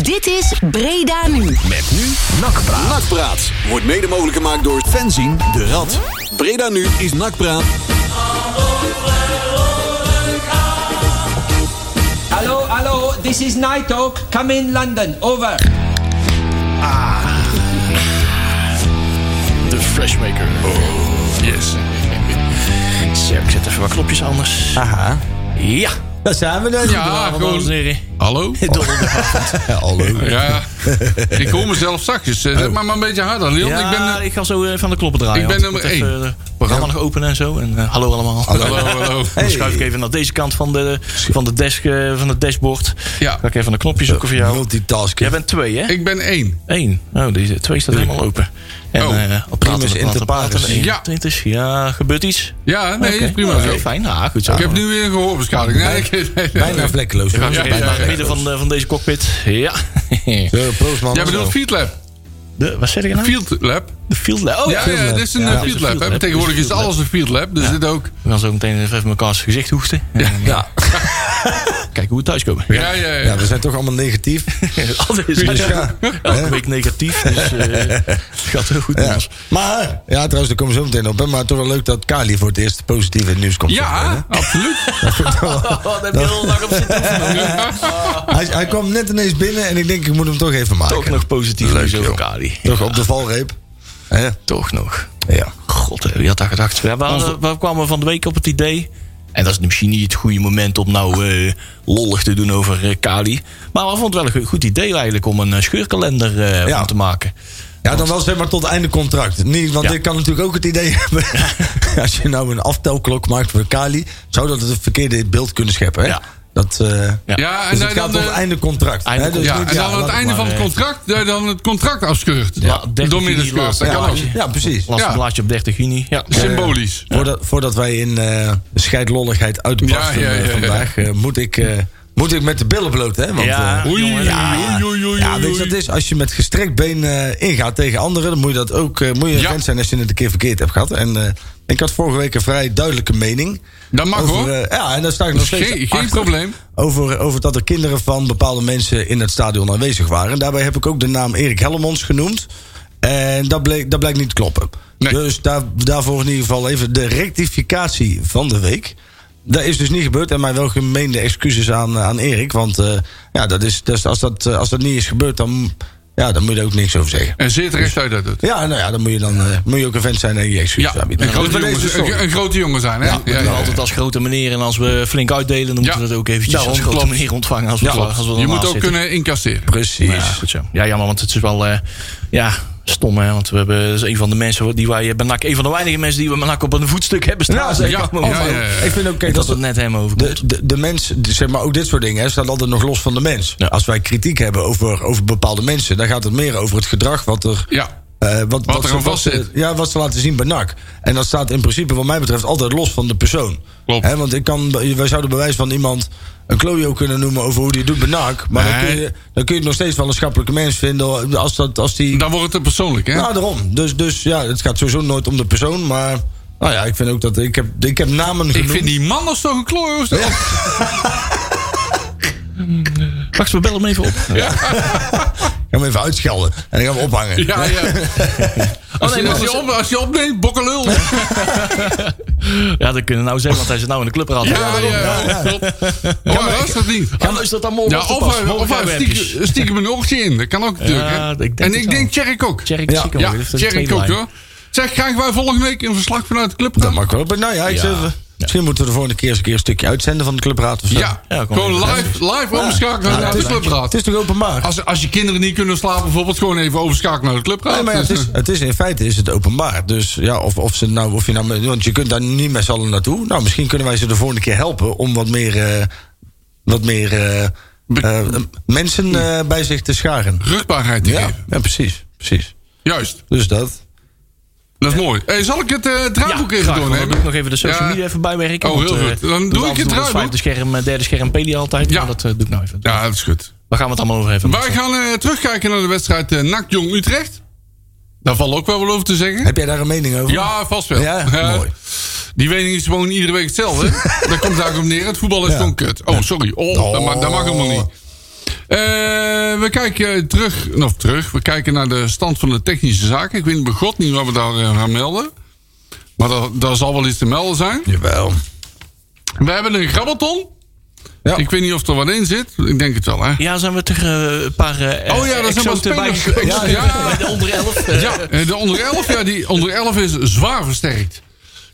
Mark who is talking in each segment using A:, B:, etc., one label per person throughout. A: Dit is Breda Nu.
B: Met nu Nakpraat.
C: Nakpraat wordt mede mogelijk gemaakt door
B: Fenzien de Rad.
C: Breda nu is Nakpraat.
D: Hello, hello, this is Night Talk. Come in London. Over.
E: De Freshmaker. Oh, yes. Zo, ik zet even wat knopjes anders.
B: Aha.
E: Ja.
B: Daar zijn we dan.
F: Ja,
E: Dames en
F: gewoon.
E: heren.
F: Hallo?
B: Hallo.
F: Ja, ik hoor mezelf zachtjes. Zet maar, maar een beetje harder, Leon.
E: Ja,
F: ik ben... eh,
E: ik ga zo eh, van de kloppen draaien.
F: Ik ben
E: want
F: nummer
E: moet even, eh, programma nog openen en zo. En eh, hallo allemaal.
F: Hallo, hallo.
E: Dan schuif ik even naar deze kant van de, van de desk, eh, van het dashboard.
F: Ja.
E: Ga ik even een knopje zoeken voor jou.
B: Multitasking.
E: Jij bent twee, hè?
F: Ik ben één.
E: Eén. Oh, deze twee staat helemaal open. En
F: Oh.
E: eh, al praten,
B: Primus
E: we,
B: inter
E: praten, praten.
B: pares.
E: Eén,
F: Ja.
E: twintig. Ja, gebeurt iets?
F: Ja, nee,
E: Oké.
F: is prima
E: Oké,
F: zo.
E: Fijn, ja, goed zo.
F: Ik heb nu weer een gehoorbeschadiging. Nee, ik-
B: Bijna vlekkeloos.
E: Gaan we
F: Ja,
E: even
F: ja,
E: naar
F: ja.
E: het midden van, eh, van deze cockpit. Ja.
B: Zo, proost man.
F: Jij bedoelt Field Lab.
E: De, wat zeg ik nou?
F: Field Lab.
E: De field lab. Oh,
F: Ja,
B: Field
F: ja,
B: Lab.
F: dit is een
B: Ja,
F: eh,
E: dit is
F: Field
E: een
F: Lab.
E: Field
F: hè.
E: Lab.
F: Tegenwoordig
E: Dit
F: is
E: is een
F: alles een Field Lab. Dus dit ook.
E: We gaan zo meteen even mekaars gezicht hoesten. En, eh,
B: Ja.
E: Kijken hoe we thuis komen.
F: Ja, ja,
B: ja,
F: ja.
B: we zijn toch allemaal negatief.
E: Altijd is
B: Dus
E: het
B: ja.
E: elke week negatief. Dus eh, het gaat heel goed.
B: Ja.
E: jongens.
B: Maar, ja, trouwens, daar komen we zo meteen op. hè, Maar toch wel leuk dat Kali voor het eerst positief in het nieuws komt.
F: Ja, absoluut.
E: Oh, daar heb je heel lang op zitten oefenen.
B: Hij, hij kwam net ineens binnen en ik denk, ik moet hem toch even maken.
E: Ook nog positief
B: Leuk,
E: nieuws over
B: joh.
E: Kali.
B: Toch op de valreep. Hè?
E: Toch nog.
B: Ja.
E: God, eh, wie had dat gedacht? Ja, we, hadden- we kwamen van de week op het idee. En dat is misschien niet het goede moment om nou eh, lollig te doen over eh, Kali. Maar we vonden het wel een go- goed idee eigenlijk om een eh, scheurkalender eh,
B: Ja.
E: van te maken.
B: Ja, dan wel zeg maar tot einde contract. Niet, want
E: Ja.
B: ik kan natuurlijk ook het idee hebben. Als je nou een aftelklok maakt voor Kali, zou dat het verkeerde beeld kunnen scheppen. Hè?
E: Ja.
B: Dat, eh,
F: Ja, en nou,
B: dus
F: dan
B: het gaat
F: de-
B: tot einde contract.
E: Einde
B: hè? Dus
E: contract.
F: Ja, en
B: niet,
F: dan aan
B: laat
F: het einde
B: maar,
F: van het
B: eh,
F: contract, eh, dan het contract afskeurt.
E: La- dertig
F: Door midden
E: juni
F: scheurt. Dat
E: laatste
F: kan ook.
E: blaadje.
B: Ja, precies.
E: Laatste
F: Ja.
E: blaadje op 30 juni. Ja.
F: Symbolisch.
B: Voordat, voordat wij in eh scheidlolligheid uitbarsten
F: Ja, ja, ja,
B: eh,
F: ja.
B: vandaag, eh, moet, ik, eh, moet ik met de billen bloot. Hè? Want,
E: Ja.
B: eh,
F: Oei, oei, oei, oei, oei.
B: ja, weet je wat het is? Als je met gestrekt been eh, ingaat tegen anderen, dan moet je dat ook eh, moet je
F: Ja.
B: gewend zijn als je het een keer verkeerd hebt gehad. En eh, ik had vorige week een vrij duidelijke mening.
F: Dat mag
B: over,
F: hoor.
B: eh, ja, en daar sta ik nog steeds
F: Geen, geen
B: achter.
F: probleem.
B: Over, over dat er kinderen van bepaalde mensen in het stadion aanwezig waren. Daarbij heb ik ook de naam Erik Hellemons genoemd. En dat, bleek, dat blijkt niet te kloppen.
F: Nee.
B: Dus daar, daarvoor in ieder geval even de rectificatie van de week. Dat is dus niet gebeurd en mijn welgemeende excuses aan, aan Erik. Want eh, ja, dat is, dat is- als, dat, eh, als dat niet is gebeurd, dan, ja, dan moet je er ook niks over zeggen.
F: En zeer terecht uit dat doet.
B: Ja, nou ja, dan moet je, dan, eh, moet je ook een vent zijn en je excuses
F: Ja,
B: aanbieden.
F: een grote,
B: Dus bij
F: jongen,
B: deze
F: een,
B: sorry.
F: een grote jongen zijn. Hè? Ja,
E: Ja, Eh, altijd als grote meneer en als we flink uitdelen, dan
F: Ja.
E: moeten we dat ook eventjes
F: Daarom,
E: als grote
F: klopt.
E: meneer ontvangen. Als we,
B: Ja,
E: als we
F: Je
E: ernaast
F: moet ook
E: zitten.
F: kunnen incasseren.
B: Precies.
E: Ja, goed zo. Ja, jammer, want het is wel eh, ja, stom, hè. Want we hebben dat is een van de mensen die wij eh, bij NAC... Een van de weinige mensen die we bij NAC op een voetstuk hebben staan.
B: Ja, zeker.
F: Ja,
B: Maar
F: ja,
B: ook-
F: ja, ja.
B: Ik vind ook, kijk,
E: dat
B: dat
E: het net hem overkomt.
B: de, de, de mens, de- zeg maar ook dit soort dingen, hè, staat altijd nog los van de mens.
E: Ja.
B: Als wij kritiek hebben over, over bepaalde mensen, dan gaat het meer over het gedrag wat er.
F: Ja.
B: eh, wat, wat,
F: er
B: ze-
F: aan vast
B: ze-
F: zit.
B: Ja, wat ze laten zien bij NAC. En dat staat in principe, wat mij betreft, altijd los van de persoon.
F: Klopt.
B: Hè, want ik kan, wij zouden bewijs van iemand een klojo kunnen noemen over hoe die het doet bij NAC. Maar dan,
F: Nee.
B: kun je, dan kun je het nog steeds wel een schappelijke mens vinden. Als, dat, als die.
F: Dan wordt het te persoonlijk, hè?
B: Nou, daarom. Dus, dus ja, het gaat sowieso nooit om de persoon. Maar nou ja, ik vind ook dat. Ik heb, ik heb namen genoemd.
F: ik vind die man als toch een kloor. Ja.
E: Wacht, we bellen hem even op.
B: Ik ga hem even uitschelden. En ik ga hem ophangen.
F: Ja, ja. Als, je, als, je op, als je opneemt, bokkelul. Ja,
E: Ja, dat kunnen we nou zeggen, want hij zit nou in de clubraad.
F: ja, ja. klopt. Maar dat is dat niet.
E: Gaan we- is dat dan morgen
F: Ja,
E: op te
F: of
E: passen?
F: hij, of
E: Morgen
F: hij
E: gaan we eventjes.
F: stiekem, stiekem een oogje in. Dat kan ook natuurlijk, hè?
E: Ja, ik denk
F: En
E: het
F: ik
E: wel.
F: denk Tjerk ook.
E: Tjerk
B: Ja.
E: Zico,
F: Ja,
E: dat is de
F: Tjerk
E: tweede
F: ook,
E: lijn.
F: hoor. Zeg, krijgen wij volgende week een verslag vanuit de club?
B: Dat mag wel. Maar nou ja, ik
E: Ja.
B: zeg, eh, misschien moeten we de volgende keer eens een, keer een stukje uitzenden van de clubraad of zo.
F: Ja,
E: Ja, kom
F: gewoon
E: even.
F: live, live
B: Ja,
F: overschakelen naar
B: het,
F: de
B: is,
F: clubraad.
B: het is toch openbaar?
F: Als, als je kinderen niet kunnen slapen, bijvoorbeeld gewoon even overschakelen naar de clubraad.
B: Nee, maar ja, het,
F: Dus,
B: is,
F: eh,
B: het is in feite is het openbaar. Dus ja, of, of ze nou, of je nou, met- want je kunt daar niet met z'n allen naartoe. Nou, misschien kunnen wij ze de volgende keer helpen om wat meer, eh, wat meer eh, eh, mensen eh, bij zich te scharen.
F: Rugbaarheid te
B: Ja,
F: geven.
B: ja, precies, precies.
F: Juist,
B: Dus dat.
F: dat is mooi. Hey, zal ik het eh
E: Ja,
F: draaiboek even
E: graag, want Dan
F: doornemen?
E: doe ik nog even de social
F: Ja.
E: media even bijwerken.
F: Oh,
E: want,
F: heel
E: eh,
F: goed. Dan doe
E: we
F: ik
E: altijd
F: het
E: nog als
F: draaiboek.
E: Vijfde scherm, eh, derde scherm, peli altijd.
F: Ja.
E: Maar dat eh, doe ik nou even.
F: Ja, dat is goed.
E: Waar gaan we het allemaal over hebben?
F: Wij gaan eh, terugkijken naar de wedstrijd eh NAC Jong Utrecht. Daar valt ook wel wat over te zeggen.
B: Heb jij daar een mening over?
F: Ja, vast wel.
B: Ja,
F: Eh,
B: mooi.
F: Die mening is gewoon iedere week hetzelfde. Daar komt daar ook op neer. Het voetbal is
B: Ja.
F: gewoon kut. Oh, sorry. Oh, Dat, mag, dat mag helemaal niet. Eh, Eh, we kijken terug, of terug, we kijken naar de stand van de technische zaken. Ik weet bij god niet wat we daar eh, gaan melden. Maar daar, daar zal wel iets te melden zijn.
B: Jawel.
F: We hebben een grabbelton.
B: Ja.
F: Ik weet niet of er wat in zit. Ik denk het wel, hè?
E: Ja, zijn we er eh, een paar eh,
F: Oh ja, daar zijn wat
E: exoten bij-
F: spelers. Ja, ja.
E: bij de onder 11. eh,
F: Ja, eh, de onder 11, ja, die onder 11 is zwaar versterkt.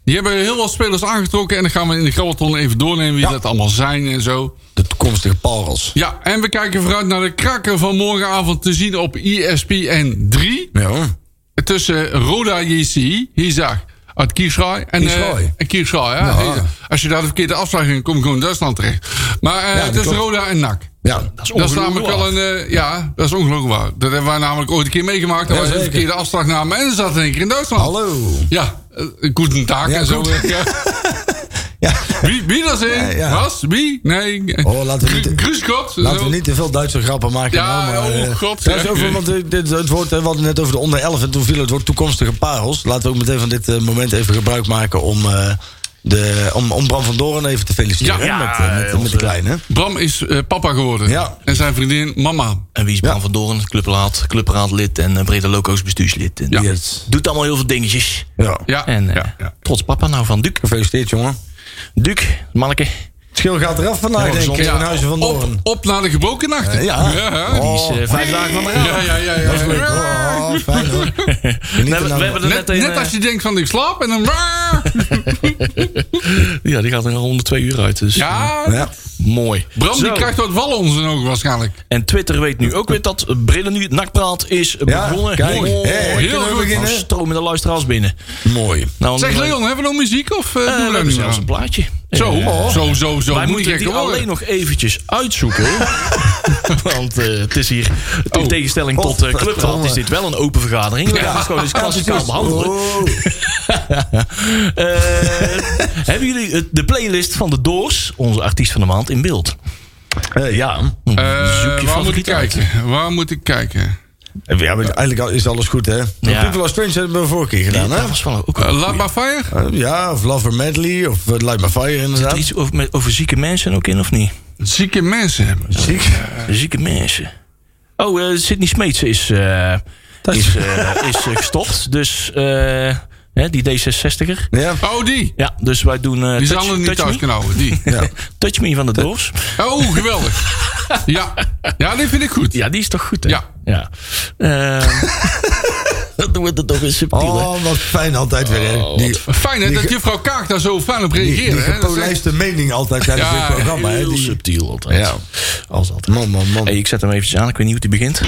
F: Die hebben heel wat spelers aangetrokken. En dan gaan we in de grabbelton even doornemen wie dat allemaal zijn en zo.
B: De toekomstige parels.
F: Ja, en we kijken vooruit naar de kraker van morgenavond te zien op E ESPN 3.
B: Ja hoor.
F: Tussen Roda JC, Hizag, uit Kiesraai. En, eh,
B: Kiesraai.
F: en Kiesraai, ja.
B: Ja.
F: Hizag. Als je daar de verkeerde afslag in kom je gewoon in Duitsland terecht. Maar eh
B: Ja, dat
F: tussen
B: klopt.
F: Roda en NAC.
B: Ja.
E: Dat is
F: Dat is
E: ongelooflijk
F: namelijk
E: waar.
F: wel een... eh, ja, dat is ongelooflijk waar. Dat hebben wij namelijk ooit een keer meegemaakt. Dat
B: Ja,
F: wij de
B: zeker.
F: verkeerde afslag namen en zaten in één keer in Duitsland.
B: Hallo.
F: Ja, een goede taak
B: Ja,
F: en zo.
B: goed.
F: eh, ja.
B: Ja.
F: Wie, wie dat is?
B: Ja,
F: in?
B: ja.
F: Was? Wie? Nee.
B: Oh, laten we niet-
F: Kruiskot.
B: Laten we niet te veel Duitse grappen maken.
F: Ja,
B: nou, maar, eh,
F: oh god,
B: dat is
F: ja.
B: over, want dit, dit- het woord, eh, we hadden net over de onder 11 en toen viel het woord toekomstige parels. Laten we ook meteen van dit eh, moment even gebruik maken om, eh, de, om, om Bram van Doren even te feliciteren.
F: Ja,
B: hè,
E: ja,
B: met, eh, met,
E: onze-
B: met de kleine.
F: Bram is eh, papa geworden.
B: Ja.
F: En zijn vriendin mama.
E: En wie is Bram van Doorn? Clubraad, clubraadlid en eh, Breda Loco's bestuurslid. En
B: Ja.
E: die eh, Doet allemaal heel veel dingetjes.
B: ja.
F: Ja.
E: En eh,
F: ja, ja.
E: trots papa nou van Duc.
B: Gefeliciteerd, jongen.
E: Duc, manneke.
B: Het schil gaat eraf vandaag,
E: Ja,
B: denk ik,
E: gezond.
B: in
F: Ja,
B: huizen van
F: op,
B: Doren.
F: op naar de gebroken nachten.
B: Eh, ja.
F: ja.
E: Die is eh, vijf dagen van de raad.
F: Ja, ja, ja, ja.
B: Dat is leuk. Oh, fijn hoor.
E: We hebben,
B: Geniet er nou
E: we
B: van.
E: hebben er
F: Net,
E: net, een,
F: net
E: eh,
F: als je denkt van ik slaap en dan...
E: Ja, die gaat er rond de twee uur uit. Dus
F: Ja,
B: Ja.
E: mooi.
F: Bram
E: Zo.
F: die krijgt wat wallen onder zijn ogen waarschijnlijk.
E: En Twitter weet nu ook weer dat Brillen nu nakpraat is
B: Ja,
E: begonnen.
B: kijk.
E: Mooi.
B: Hey,
F: heel
E: heel
F: goed.
E: goed. Beginnen. Stromende luisteraars binnen.
B: Mooi.
E: Nou,
F: Zeg
E: eh,
F: Leon, hebben we nog muziek of eh,
E: eh, we
F: doen we dat
E: hebben
F: niet
E: zelfs
F: meer
E: een plaatje.
F: Zo,
E: Eh,
F: zo, zo, zo.
E: Wij
F: moet
E: moeten
F: ik
E: die alleen nog eventjes uitzoeken. Want eh, het is hier, in
F: Oh.
E: tegenstelling tot eh Clubraad, is dit wel een open vergadering. We gaan het gewoon eens klassikaal behandelen.
B: Oh,
E: Eh, hebben jullie het- de playlist van de Doors, onze artiest van de maand, in beeld?
B: eh, ja.
E: Zoek je
F: Eh, waar moet ik
E: favoriet uit.
F: kijken? Waar moet ik kijken?
B: ja maar eigenlijk al- is alles goed, hè?
E: Ja.
B: People are Strange hebben we vorige keer gedaan, hè?
E: Dat was wel ook
F: Eh,
E: een
F: Laat maar fire?
B: Eh, ja, of Love or Medley, of eh, Light My Fire
E: Zit er
B: inderdaad.
E: iets over, met, over zieke mensen ook in, of niet?
F: Zieke mensen hebben.
B: Ziek.
E: Zieke mensen. Eh, Oh, eh Sydney Smeets is, eh, is, eh, is eh, gestopt. Dus eh, hè, die D66er.
B: Ja.
F: Oh, die.
E: Ja, dus wij doen eh,
F: Die
E: touch,
F: zal er niet
E: touch,
F: thuis
E: me,
F: kunnen houden. Die.
B: ja.
E: touch Me van de Doors.
F: Oh, geweldig. Ja. ja, die vind ik goed.
E: Ja, die is toch goed, hè?
F: Ja.
E: ja. Eh, dat doen we er toch eens subtiel, hè?
B: Oh, wat fijn altijd weer, hè? Die,
F: Oh, Fijn hè,
B: Die
F: dat
B: ge-
F: juffrouw Kaak daar zo fijn op
B: die, die
F: reageerde. hè. Dat is echt-
B: gepolijste mening altijd tijdens
F: Ja,
B: dit programma, hè?
E: Heel
B: Die,
E: subtiel altijd.
B: Ja.
E: Als altijd.
B: man, man, man.
E: Hey, ik zet hem eventjes aan. Ik weet niet hoe die begint.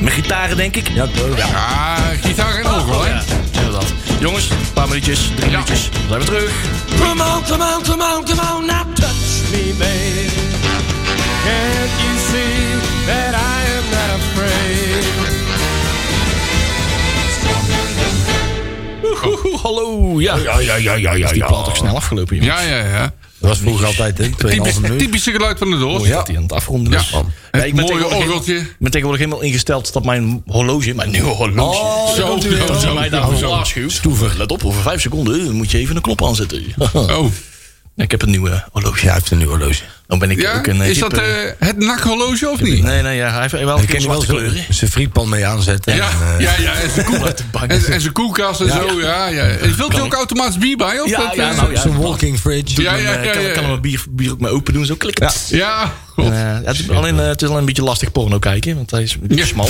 E: Met gitaren, denk ik.
B: Ja, toch?
F: Ah, gitaar en orgel, hè?
E: Ja, inderdaad. Jongens, een paar minuutjes, drie
F: Ja.
E: minuutjes. Dan zijn we terug.
G: Come on, come on, come on, come on, now touch me, babe. Can't you see that I am not afraid?
E: Oeh, hallo. Ja. Ja, ja, ja, ja, ja. Is die plaat ook snel afgelopen, jongens.
F: Ja, ja, ja.
B: Dat was vroeger altijd, hè?
F: Typisch,
B: 2,5 minuut.
F: typische geluid van de doos.
E: Mooi dat hij aan het afronden is.
F: Oh Ja. Het
E: ik ben
F: mooie
E: tegenwoordig helemaal-
F: orgeltje.
E: Ik ben tegenwoordig helemaal ingesteld dat mijn horloge, mijn nieuwe horloge...
B: Oh, daar
E: zo,
B: komt hij weer.
E: zo,
B: Oh,
E: mij
B: zo.
E: daarvoor waarschuwt. Let op, over vijf seconden eh, moet je even een knop aanzetten.
F: Oh,
E: ik heb een nieuwe horloge.
B: Ja, hij heeft een nieuw horloge.
E: Dan ben ik
F: ja?
E: ook een... eh,
F: Is dat
E: hippe-
F: eh, het nakhorloge of niet?
E: Nee, nee, ja, hij heeft wel
B: Ik
E: een
B: kan er wel
E: zwarte kleuren.
B: zijn- zijn frietpan mee aanzetten.
F: Ja,
B: en, eh,
F: ja, ja. En zijn, koel-
E: Wat een bank.
F: en, en zijn koelkast en zo, ja, ja. En Wilt u ook automatisch bier bij? Of
E: Ja,
F: dat,
E: ja,
F: eh,
E: nou ja.
B: Zo'n walking fridge.
F: Ja,
E: En,
F: ja,
E: eh,
F: ja,
E: kan,
F: ja.
E: kan er mijn bier, bier ook maar open doen, zo klikken.
F: Ja,
E: En,
F: god.
E: eh, ja, het, is alleen, eh, het is alleen een beetje lastig porno kijken, want hij is een beetje
F: Ja.
E: Eh, smal.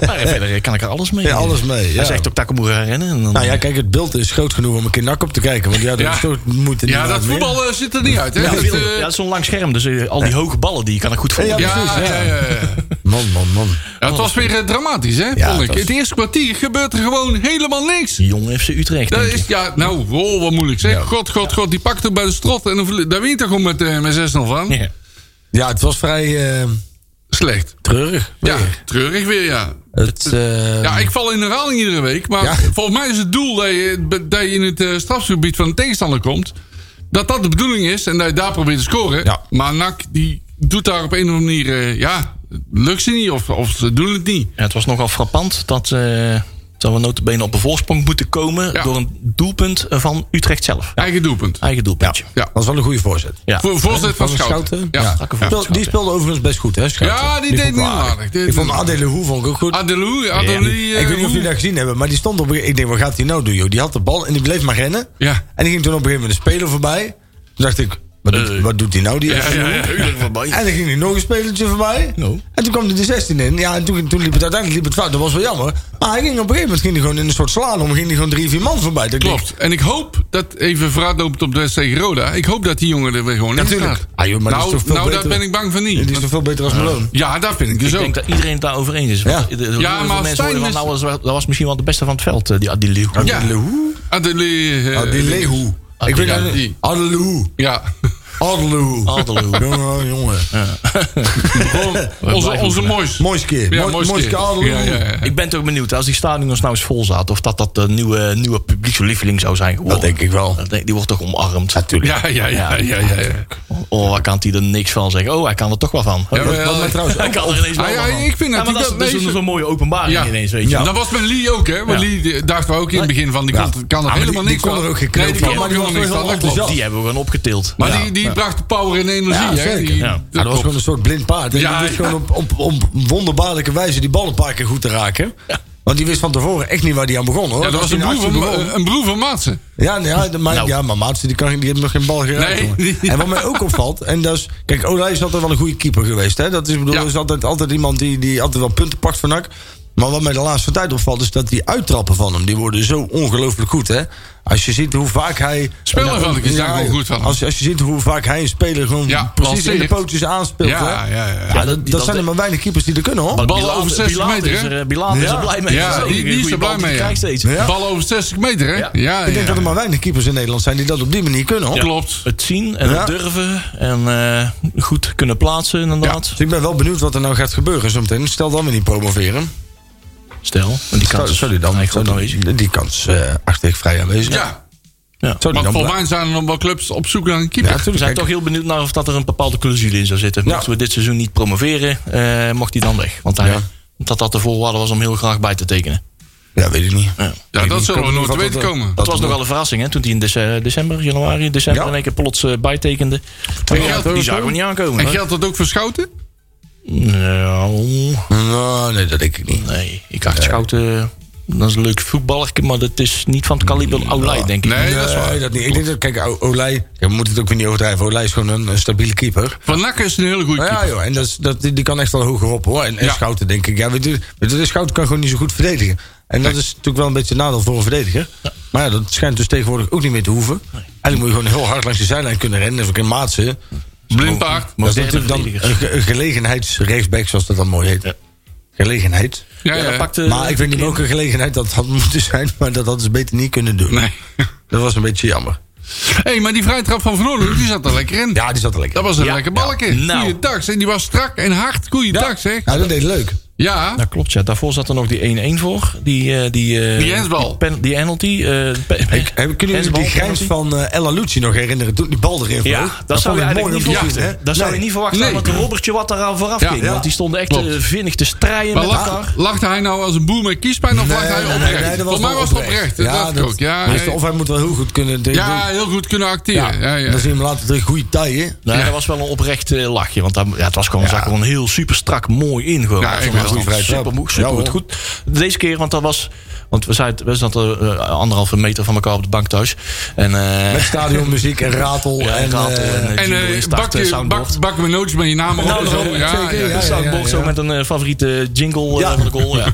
E: maar verder eh, kan ik er alles mee.
B: Ja, alles mee, ja.
E: Hij zegt ook Takamura gaan rennen. En dan, eh,
B: Nou ja, kijk, het beeld is groot genoeg om een keer nak op te kijken. Want ja, dat
F: Ja.
B: is toch- moet er
F: ja,
B: niemand
F: dat
B: meer.
F: voetbal eh, zit er niet uit, hè?
E: ja,
F: Dat,
E: veel-
F: eh,
E: ja, het is zo'n lang scherm, dus eh, al die hoge ballen die kan ik goed volgen.
B: Ja,
F: ja,
B: precies,
F: ja,
B: ja.
F: ja, ja.
B: Man, man, man.
F: Ja, het was weer eh, dramatisch, hè?
B: Ja,
F: vond ik.
B: dat was-
F: Het eerste kwartier gebeurt er gewoon helemaal niks.
E: Jong FC Utrecht.
F: Dat
E: denk
F: is,
E: ik.
F: ja, nou, wow, wat moeilijk zeg. God, god, god, die pakt hem bij de strot. En dan verlie- daar wint hij gewoon met, eh, met 6-0 van.
E: Ja.
B: Ja, het was vrij eh,
F: Slecht.
B: treurig.
F: Ja, treurig weer, ja.
B: Het, eh,
F: Ja, ik val in herhaling iedere week. Maar
B: Ja.
F: volgens mij is het doel dat je, dat je in het eh, strafgebied van de tegenstander komt. Dat dat de bedoeling is en dat je daar probeert te scoren.
B: Ja.
F: Maar NAC die doet daar op een of andere manier... eh, ja, het lukt ze niet of, of ze doen het niet.
E: Ja, het was nogal frappant dat eh, Zouden we notabene op een voorsprong moeten komen
F: Ja.
E: door een doelpunt van Utrecht zelf.
F: Eigen doelpunt.
E: Eigen doelpuntje.
F: Ja.
B: Dat was wel een goede voorzet.
E: Ja.
F: Voor, voorzet van
B: Van
F: Schouten.
B: Ja.
F: Ja.
E: Strakke voorzet,
B: Speel-
E: Schouten.
B: die speelde overigens best goed, hè? Schouten?
F: Ja, die deed
B: vond ik wel
F: niet aardig. Die
B: Ik vond
F: deed niet
B: Adele Hoe vond ik ook goed.
F: Adelou,
B: Ja.
F: eh,
B: ik weet niet of jullie dat gezien hebben, maar die stond op. Ik denk, wat gaat hij nou doen, joh? Die had de bal en die bleef maar rennen.
F: Ja.
B: En die ging toen op een gegeven moment een speler voorbij. Toen dacht ik, wat doet, wat doet die nou, die
F: Eh. Ja, ja, ja.
B: En dan ging hij nog een spelertje voorbij.
E: Nou.
B: En toen kwam hij de 16 in. Ja, en toen, toen liep het uiteindelijk liep het fout. Dat was wel jammer. Maar hij ging op een gegeven moment ging hij gewoon in een soort slalom. Ging hij gewoon drie, vier man voorbij. Dat
F: Klopt. En ik hoop dat, even vooruitlopend op de wedstrijd tegen Roda, ik hoop dat die jongen er weer gewoon in
B: Natuurlijk.
F: staat.
B: Ah, joh, maar dat is
F: nou,
B: toch veel
F: nou daar
B: beter-
F: ben ik bang van
B: Die is
F: niet.
B: toch veel beter als Malone.
F: Ja, dat vind ik dus
E: Ik
F: ook.
E: denk dat iedereen het daarover eens is. Want de-
B: Ja.
E: de-
F: Ja,
E: heel
F: maar
E: veel mensen
F: Stijn
E: horen van,
F: is-
E: nou, dat was wel- dat was misschien wel de beste van het veld, eh, die Adil.
F: Ja. Adele. eh,
B: Ah, die Lehu. Ik weet
E: ja,
B: nou niet.
F: die.
B: Adelehoe.
F: Ja.
B: Adelehoe.
F: Ah.
E: Adelehoe.
B: Jongen, jongen.
F: Onze,
E: blijven
F: onze
E: we.
F: moois.
B: Moois keer.
F: Ja,
B: Mooi-
F: moois
B: moois
F: keer.
B: keer Adelehoe.
F: Ja, ja, ja.
E: Ik ben toch benieuwd, als die stadions nou eens vol zaten, of dat dat de nieuwe, nieuwe publiekslieveling zou zijn geworden.
B: Dat denk ik wel.
E: Dat denk- Die wordt toch omarmd?
B: Natuurlijk.
F: Ja, ja, ja, ja, ja. ja.
E: Oh, hij kan hij er niks van zeggen. Oh, hij kan er toch wel van.
F: Ja, maar-
B: Wat mij trouwens
E: hij
B: ook
E: kan er ineens wel
F: Ah, ja,
E: wat van.
F: ik vind
E: ja, maar
F: dat hij
E: dat, is-
F: dat
E: dat is
F: lezen-
E: een zo'n mooie openbaring
F: Ja. Nou,
E: ineens, weet je.
F: Dat was met Lee ook, hè? Want
E: Ja.
F: Lee eh, dachten we ook in het begin van, die
E: Ja.
F: kan, kan er
B: Ah, maar die-
F: helemaal
B: die
F: niks
B: kon
F: van.
B: er ook geen
F: Nee,
B: knoop
F: die
B: van,
F: kon
B: maar
F: er
B: die
F: helemaal niks
B: was wel
F: van.
B: heel
F: Dat klopt.
E: Die hebben we gewoon opgetild.
F: Maar
E: Ja.
F: die, die bracht de power en
B: Ja,
F: energie, hè?
B: zeker.
F: Die-
B: Ja.
F: dat
B: dat was
F: klopt.
B: gewoon een soort blind paard. En
F: Ja,
B: die wist
F: ja.
B: gewoon op, op, op wonderbaarlijke wijze die bal een paar keer goed te raken. Want die wist van tevoren echt niet waar die aan begon, hoor.
F: Ja, dat
B: Als
F: was
B: die
F: een broer van,
B: actie begon-
F: eh, een broer van Maatsen.
B: Ja, nee, ja, de- maar,
E: Nou.
B: ja, maar Maatsen die, kan, geen- die heeft nog geen bal geraakt.
F: Nee,
B: jongen.
F: die-
B: En wat mij ook opvalt, en dat is, kijk, Olij is altijd wel een goede keeper geweest. Hè? Dat is, ik bedoel,
F: Ja.
B: is altijd, altijd iemand die, die altijd wel punten pakt van Nak. Maar wat mij de laatste tijd opvalt, is dat die uittrappen van hem, die worden zo ongelooflijk goed. Hè? Als je ziet hoe vaak hij.
F: Spelen
B: Nou,
F: vond ik is daar gewoon goed van hem.
B: Als, als je ziet hoe vaak hij een speler gewoon
F: Ja,
B: precies in de
F: lanceert.
B: pootjes aanspeelt.
F: Ja,
B: hè?
F: ja, ja, ja.
B: dat, dat
E: dat-
B: zijn er maar weinig keepers die dat kunnen hoor.
E: Want
F: Bal
E: Bilan-
F: over 60
E: Bilan
F: meter,
E: is
F: hè?
E: er, eh, Bilan is er
B: Ja.
E: blij mee.
F: Ja,
E: Zo,
F: die- die
E: een
F: is
E: goede
F: er
E: bal
F: blij
E: die
F: mee,
E: krijgt
F: ja.
E: steeds.
B: Ja.
F: Bal over 60 meter, hè? Ja,
E: Ja.
F: ja.
B: Ik denk dat er maar weinig keepers in Nederland zijn die dat op die manier kunnen hoor.
F: Klopt.
E: Het zien en
B: Ja.
E: het durven en eh, goed kunnen plaatsen inderdaad.
B: Dus ik ben wel benieuwd wat er nou gaat gebeuren zometeen. Stel dan we niet promoveren.
E: Stel, want die kans is
B: Sorry dan.
E: eigenlijk goed
B: Zou-
E: aanwezig.
B: Die kans eh acht ik vrij aanwezig.
F: Ja,
E: Ja.
B: Zou die
F: want
B: dan
F: volgens
B: blij-
F: mij zijn er nog wel clubs op zoek naar een
B: Ja,
F: keeper.
E: We
B: natuurlijk.
E: zijn toch heel benieuwd naar of dat er een bepaalde clausule in zou zitten. Mochten
B: Ja.
E: we dit seizoen niet promoveren, eh, mocht hij dan weg. Want hij, omdat dat de voorwaarde was om heel graag bij te tekenen.
B: Ja, weet ik niet.
E: Ja.
F: Ja, dat zullen we nooit te
B: Wat-
F: weten
B: wat-
F: komen.
E: Dat was nog wel een verrassing, hè? Toen hij in dece- eh, december, januari, december
B: Ja.
E: in één keer plots eh, bijtekende.
F: En geldt dat
E: die
F: ook
E: zagen we
F: ook?
E: niet aankomen.
F: En
E: hè?
F: geldt dat ook voor Schouten?
E: Nou,
B: Nou, nee, dat denk ik niet.
E: nee. Ik dacht, Schouten, dat is een leuk voetballer, maar dat is niet van het kaliber Aulai, denk ik.
F: Nee, dat is waar.
B: Nee, dat niet. Ik denk dat, kijk, O- Olij, je moet het ook weer niet overdrijven. Olij is gewoon een, een stabiele keeper.
F: Van Nakken is een hele goede
B: Maar
F: keeper.
B: ja, joh, en dat, is- dat, die, die kan echt wel hoger op hoor. En, en
F: Ja.
B: Schouten, denk ik. Ja, weet je, weet je, de Schouten kan gewoon niet zo goed verdedigen. En dat is natuurlijk wel een beetje een nadeel voor een verdediger. Maar ja, dat schijnt dus tegenwoordig ook niet meer te hoeven. Eigenlijk moet je gewoon heel hard langs de zijlijn kunnen rennen. Dat is ook in Maatsen.
F: Blind paard.
B: Dat is
E: Moderne
B: natuurlijk dan een,
E: verdedigers.
B: ge- een gelegenheidsrechtsback, zoals dat dan mooi heet. Gelegenheid.
F: Ja,
E: Ja, dat
F: ja.
E: pakte-
B: maar ik weet niet
E: in.
B: welke gelegenheid dat had moeten zijn, maar dat hadden ze beter niet kunnen doen.
F: Nee.
B: Dat was een beetje jammer.
F: Hé, maar die vrije trap van Van Oorlog, die zat er lekker in.
B: Ja, die zat er lekker.
F: Dat was een
E: Ja.
F: lekker balkje.
E: Ja. Nou.
F: Goeiedag, zeg. Die was strak en hard. Goeiedag, zeg.
B: Ja, dat deed leuk.
F: Ja.
E: Dat klopt, ja. Daarvoor zat er nog die 1-1 voor. Die, eh die, eh,
F: Die handsbal.
E: Die, pen- die penalty. eh, pe-
B: Ik, heb, kunnen jullie
E: handsbal,
B: die grijns
E: penalty?
B: van eh, Ella Lucci nog herinneren toen die bal erin vloog?
E: Ja, dat, zou je
B: vond ik
E: eigenlijk niet
B: mooi om te
E: verwachten.
B: zien,
E: dat
B: hè?
E: zou je
B: Nee.
E: niet verwachten
F: Nee.
E: aan dat robbertje wat eraan vooraf
F: Ja,
E: ging.
F: ja.
E: Want die stonden echt eh,
F: Klopt.
E: vinnig te strijden
F: Maar
E: met
F: lacht-
E: elkaar.
F: lachte hij nou als een boer met kiespijn of
B: Nee,
F: lacht hij
B: nee,
F: oprecht?
B: nee, nee, dat
F: Volgens mij was het oprecht. Dat dacht ik ook. Ja,
B: Hij is-
F: hij-
B: Of hij moet wel heel goed kunnen. de-
F: ja,
B: de-
F: heel goed kunnen acteren. Ja, ja.
B: Dan zien we hem later terug goede tijden.
E: Nou, dat was wel een oprecht eh, lachje. Want daar, ja, het was gewoon, zag er gewoon heel super strak mooi in. Gewoon.
F: Ja,
E: Hij
F: ik
E: vond
F: ben
E: het wel
B: goed vrij trap.
E: super,
B: Ja,
E: super
B: hoor.
E: goed, goed. Deze keer, want dat was... Want we, zaten, we zaten eh, anderhalve meter van elkaar op de bank thuis. En, eh,
B: Met stadionmuziek en ratel.
E: Ja, en
B: en,
E: ratel
B: eh,
E: en, eh,
F: En
E: jingle
F: eh
E: is start,
F: bak,
E: eh,
F: je,
E: soundboard.
F: bak, bak mijn nootjes met je naam erop.
E: Nou,
F: en zo.
E: daarom.
F: Ja,
B: Zeker,
F: ja,
E: Ja,
F: ja.
B: ja.
E: staat box ook met een eh, favoriete jingle eh,
B: Ja.
E: van de goal. Ja.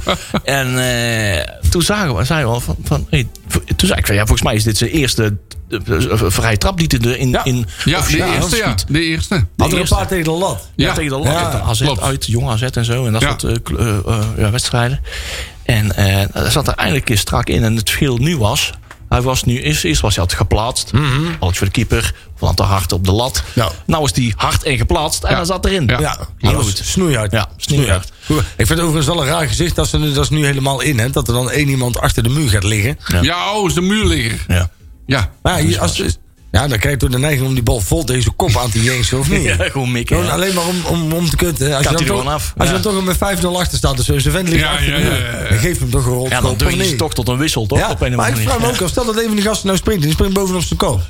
E: en eh, toen zagen we, zeiden we al van, van hey, v- toen zei ik van, ja, volgens mij is dit zijn eerste eh, eh, vrije trap die hij er in, in
F: Ja, de
E: officieel
F: eerste, ja.
E: schiet.
F: De eerste.
B: Had er een
E: eerste.
B: paar tegen de lat.
E: Ja,
F: Ja,
E: tegen de lat.
B: ja,
E: Tegen AZ
F: klopt.
E: uit, jong AZ en zo. En dat
F: Ja.
E: soort eh, kle- eh, eh, ja, wedstrijden. En eh, dat zat er eindelijk eens strak in. En het verschil nu was... Hij was nu, eerst, eerst was hij altijd geplaatst.
F: Mhm.
E: Alles voor de keeper. Van te hard op de lat.
B: Ja.
E: Nou is hij hard en geplaatst. En
F: Ja.
E: hij zat erin.
F: Ja.
B: Ja,
E: Heel
B: dat was
E: goed.
B: snoeihard.
E: Ja, snoeihard.
B: Goed. Ik vind het overigens wel een raar gezicht dat ze nu, dat is nu helemaal in. Hè, dat er dan één iemand achter de muur gaat liggen.
E: Ja.
F: Ja, oh, is de muurligger.
E: Ja.
F: Ja.
B: Maar ja, hier, als, ja, Ja, dan krijg je toch de neiging om die bal vol tegen zijn kop aan te jensen, of niet?
E: Ja, gewoon mikken,
B: Gewoon
E: ja.
B: alleen maar om, om, om te kutten. Als
E: Kapt hij
B: je,
E: er
B: dan toch,
E: gewoon af,
B: als
E: ja.
B: je dan toch met 5-0 achter staat, dus zijn vent ligt
F: Ja,
B: achter de
F: ja, ja,
B: muur.
F: ja, ja.
B: Dan geef je hem toch een rol.
E: Ja, dan dwing je ze toch tot een wissel, toch? Op een of
B: maar
E: andere
B: ik vraag me
E: manier.
B: ook af, stel dat een van die gasten nou springt, en die springt bovenop zijn kop.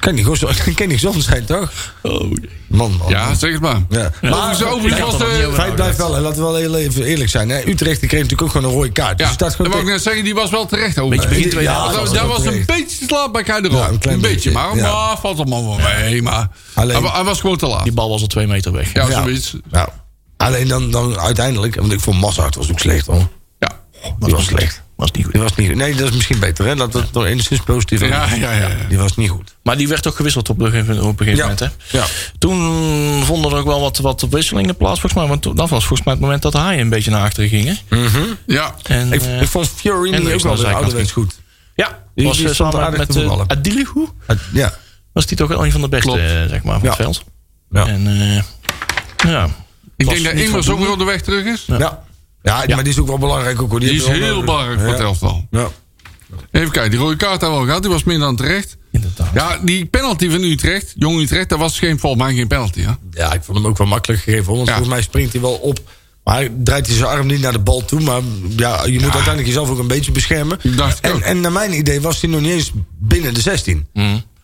B: kan niet, gewoon zo- kan niet gezond zijn, toch?
E: Oh,
B: Man, man.
F: Ja, zeg het maar.
B: Ja. Maar
F: Overigens,
E: ik
F: overigens
E: had
F: was
E: er nog niet
F: de...
E: over
B: feit blijft wel, hè, laten we wel heel even eerlijk zijn. Hè. Utrecht die kreeg natuurlijk ook gewoon een rode kaart.
F: Ja,
B: dus dat
F: dat
B: is gewoon
F: wou ik
B: te-
F: net zeggen, die was wel terecht over.
E: Beetje begin tweede
B: Ja,
E: helft
F: Dat,
E: was
F: dat
E: het wel
F: was een
B: terecht.
F: beetje slaapbaarheid erop.
B: Ja,
F: een,
B: een klein
F: beetje,
B: beetje,
F: maar
B: ja.
F: maar valt allemaal wel mee. Maar
B: Alleen-
F: hij, wa- hij was gewoon te laat.
E: Die bal was al twee meter weg.
F: Ja, zoiets.
B: Nou, alleen dan, dan uiteindelijk, want ik vond Massart was ook slecht hoor.
F: Ja.
B: Die was slecht.
E: Was niet goed.
B: Die was niet goed. Nee, dat is misschien beter hè. Laten we het nog enigszins positief
F: Ja,
B: hebben.
F: ja, ja, ja.
B: Die was niet goed.
E: Maar die werd toch gewisseld op een gegeven, op een gegeven moment, hè?
B: Ja.
E: Toen vonden er ook wel wat, wat wisselingen plaats, volgens mij. Want toen- dat was volgens mij het moment dat hij een beetje naar achteren ging, hè?
F: Ja.
E: En,
B: Hm. Ik,
E: eh,
B: ik vond Fiorini
E: Hendricks
B: ook wel
E: aan de
B: weer
E: zijkant
B: ouderwets goed.
E: ja,
B: die-
E: was
B: die
E: eh,
B: stond
E: samen
B: aardig
E: met
B: te
E: uh,
B: voetballen.
E: Adilihu.
B: Het- Ja.
E: Was die toch wel een van de beste,
F: Klopt.
E: eh, zeg maar, van het
B: Ja.
E: veld.
B: Ja.
E: En, eh, ja.
F: Ik
E: Was
F: denk dat
E: niet
F: Immers ook
E: voldoende.
F: weer op de weg terug is.
B: Ja. Ja. maar die is ook wel belangrijk. Ook, hoor.
F: Die is
B: hebben we wel
F: heel
B: nodig.
F: belangrijk voor het
B: Ja.
F: elftal.
B: Ja.
F: Even kijken, die rode kaart hebben we al gehad. Die was meer dan terecht.
E: Inderdaad.
F: Ja, die penalty van Utrecht, Jong Utrecht, dat was geen, volgens mij geen penalty. Hè?
B: ja, ik vond hem ook wel makkelijk gegeven. Hoor, want
F: Ja.
B: volgens mij springt hij wel op. Maar hij draait hij zijn arm niet naar de bal toe. Maar ja, je moet uiteindelijk jezelf ook een beetje beschermen.
F: Dacht ik ook.
B: En, en naar mijn idee was hij nog niet eens binnen de 16.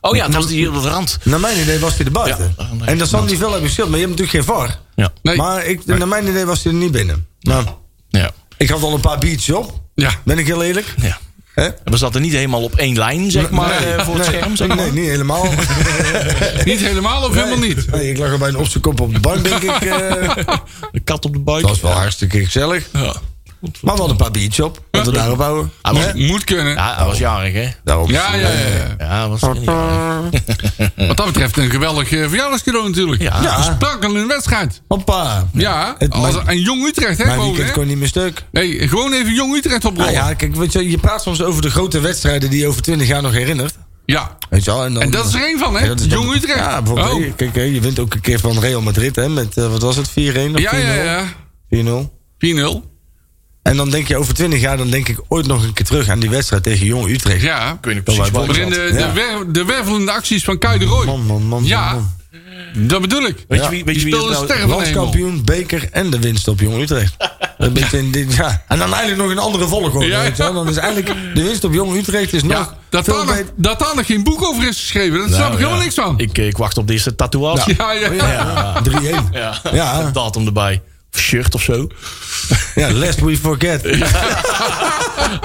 E: Oh ja, dat was die hier op de rand.
B: Naar mijn idee was hij er buiten.
E: Ja, daarom denk
B: en
E: ik
B: dat zal niet veel hebben geschild. Maar je hebt natuurlijk geen VAR.
E: Ja.
F: Nee.
B: Maar ik, naar mijn idee was hij er niet binnen. Nou,
E: Ja.
B: ik had al een paar biertjes op.
F: Ja.
B: Ben ik heel eerlijk?
E: ja.
B: Hè?
E: We zaten niet helemaal op één lijn, zeg maar, eh, voor het
B: nee,
E: scherm, zeg maar.
B: nee, niet helemaal.
F: Niet helemaal of helemaal niet?
B: Nee, ik lag er bijna op zijn kop op de bank, denk ik. eh.
E: De kat op de buik.
B: dat was wel hartstikke gezellig.
E: Ja.
B: Maar we hadden een paar biertjes op. Laten we daarop houden.
E: Hij was,
F: Moet, moet kunnen. Ja,
E: ja, hij was jarig, hè?
B: Daarop.
F: ja, ja. ja.
E: Ja, hij was jarig.
F: Wat dat betreft een geweldig eh, verjaardagscadeau natuurlijk.
E: Ja.
F: Ja. Sprankelende wedstrijd.
B: Hoppa.
F: Ja,
B: Het-
F: als,
B: mijn-
F: en Jong Utrecht, hè?
B: Mijn
F: Gewoon,
B: weekend
F: hè?
B: kon niet meer stuk.
F: Nee, gewoon even Jong Utrecht
B: Nou
F: oprollen.
B: ja, kijk, weet je, je praat soms over de grote wedstrijden die je over 20 jaar nog herinnert.
F: ja.
B: Weet je wel, en, dan-
F: En dat is er één van, hè?
B: Oh, Ja, dat is dan-
F: Jong Utrecht.
B: Ja, bijvoorbeeld.
F: Oh.
B: hè, Kijk, hè, je wint ook een keer van Real Madrid, hè? Met, eh, wat was het, 4-1 of
F: Ja, ja,
B: 4-0?
F: ja.
B: 4-0.
F: 4-0.
B: En dan denk je over 20 jaar, dan denk ik ooit nog een keer terug aan die wedstrijd tegen Jong Utrecht.
F: Ja. Ik weet niet
B: precies waar
F: Waarin de,
B: het
F: de,
B: zat. Ja.
F: wer- de wervelende acties van Kuij de Roy.
B: Man, man, man,
F: ja,
B: man,
F: dat bedoel ik.
E: Weet je
B: Ja.
E: wie, weet
F: Die
E: je wie dat
F: speelde
E: nou-
F: sterren van de hemel.
B: Landskampioen, beker en de winst op Jong Utrecht. Een beetje in dit- ja. En dan eigenlijk nog een andere volgorde.
F: Ja,
B: weet je wel. Dan is eigenlijk de winst op Jong Utrecht is nog
F: Ja, dat
B: veel
F: daar, nog,
B: beter.
F: dat daar nog geen boek over is geschreven, dat snap ik
E: Nou,
F: helemaal
E: ja.
F: niks van.
E: Ik, eh, ik wacht op de eerste tatoeage.
F: ja, ja.
B: Ja, 3-1. Ja. Ja.
E: Datum erbij. Of shirt of zo.
B: lest we forget.
E: Dat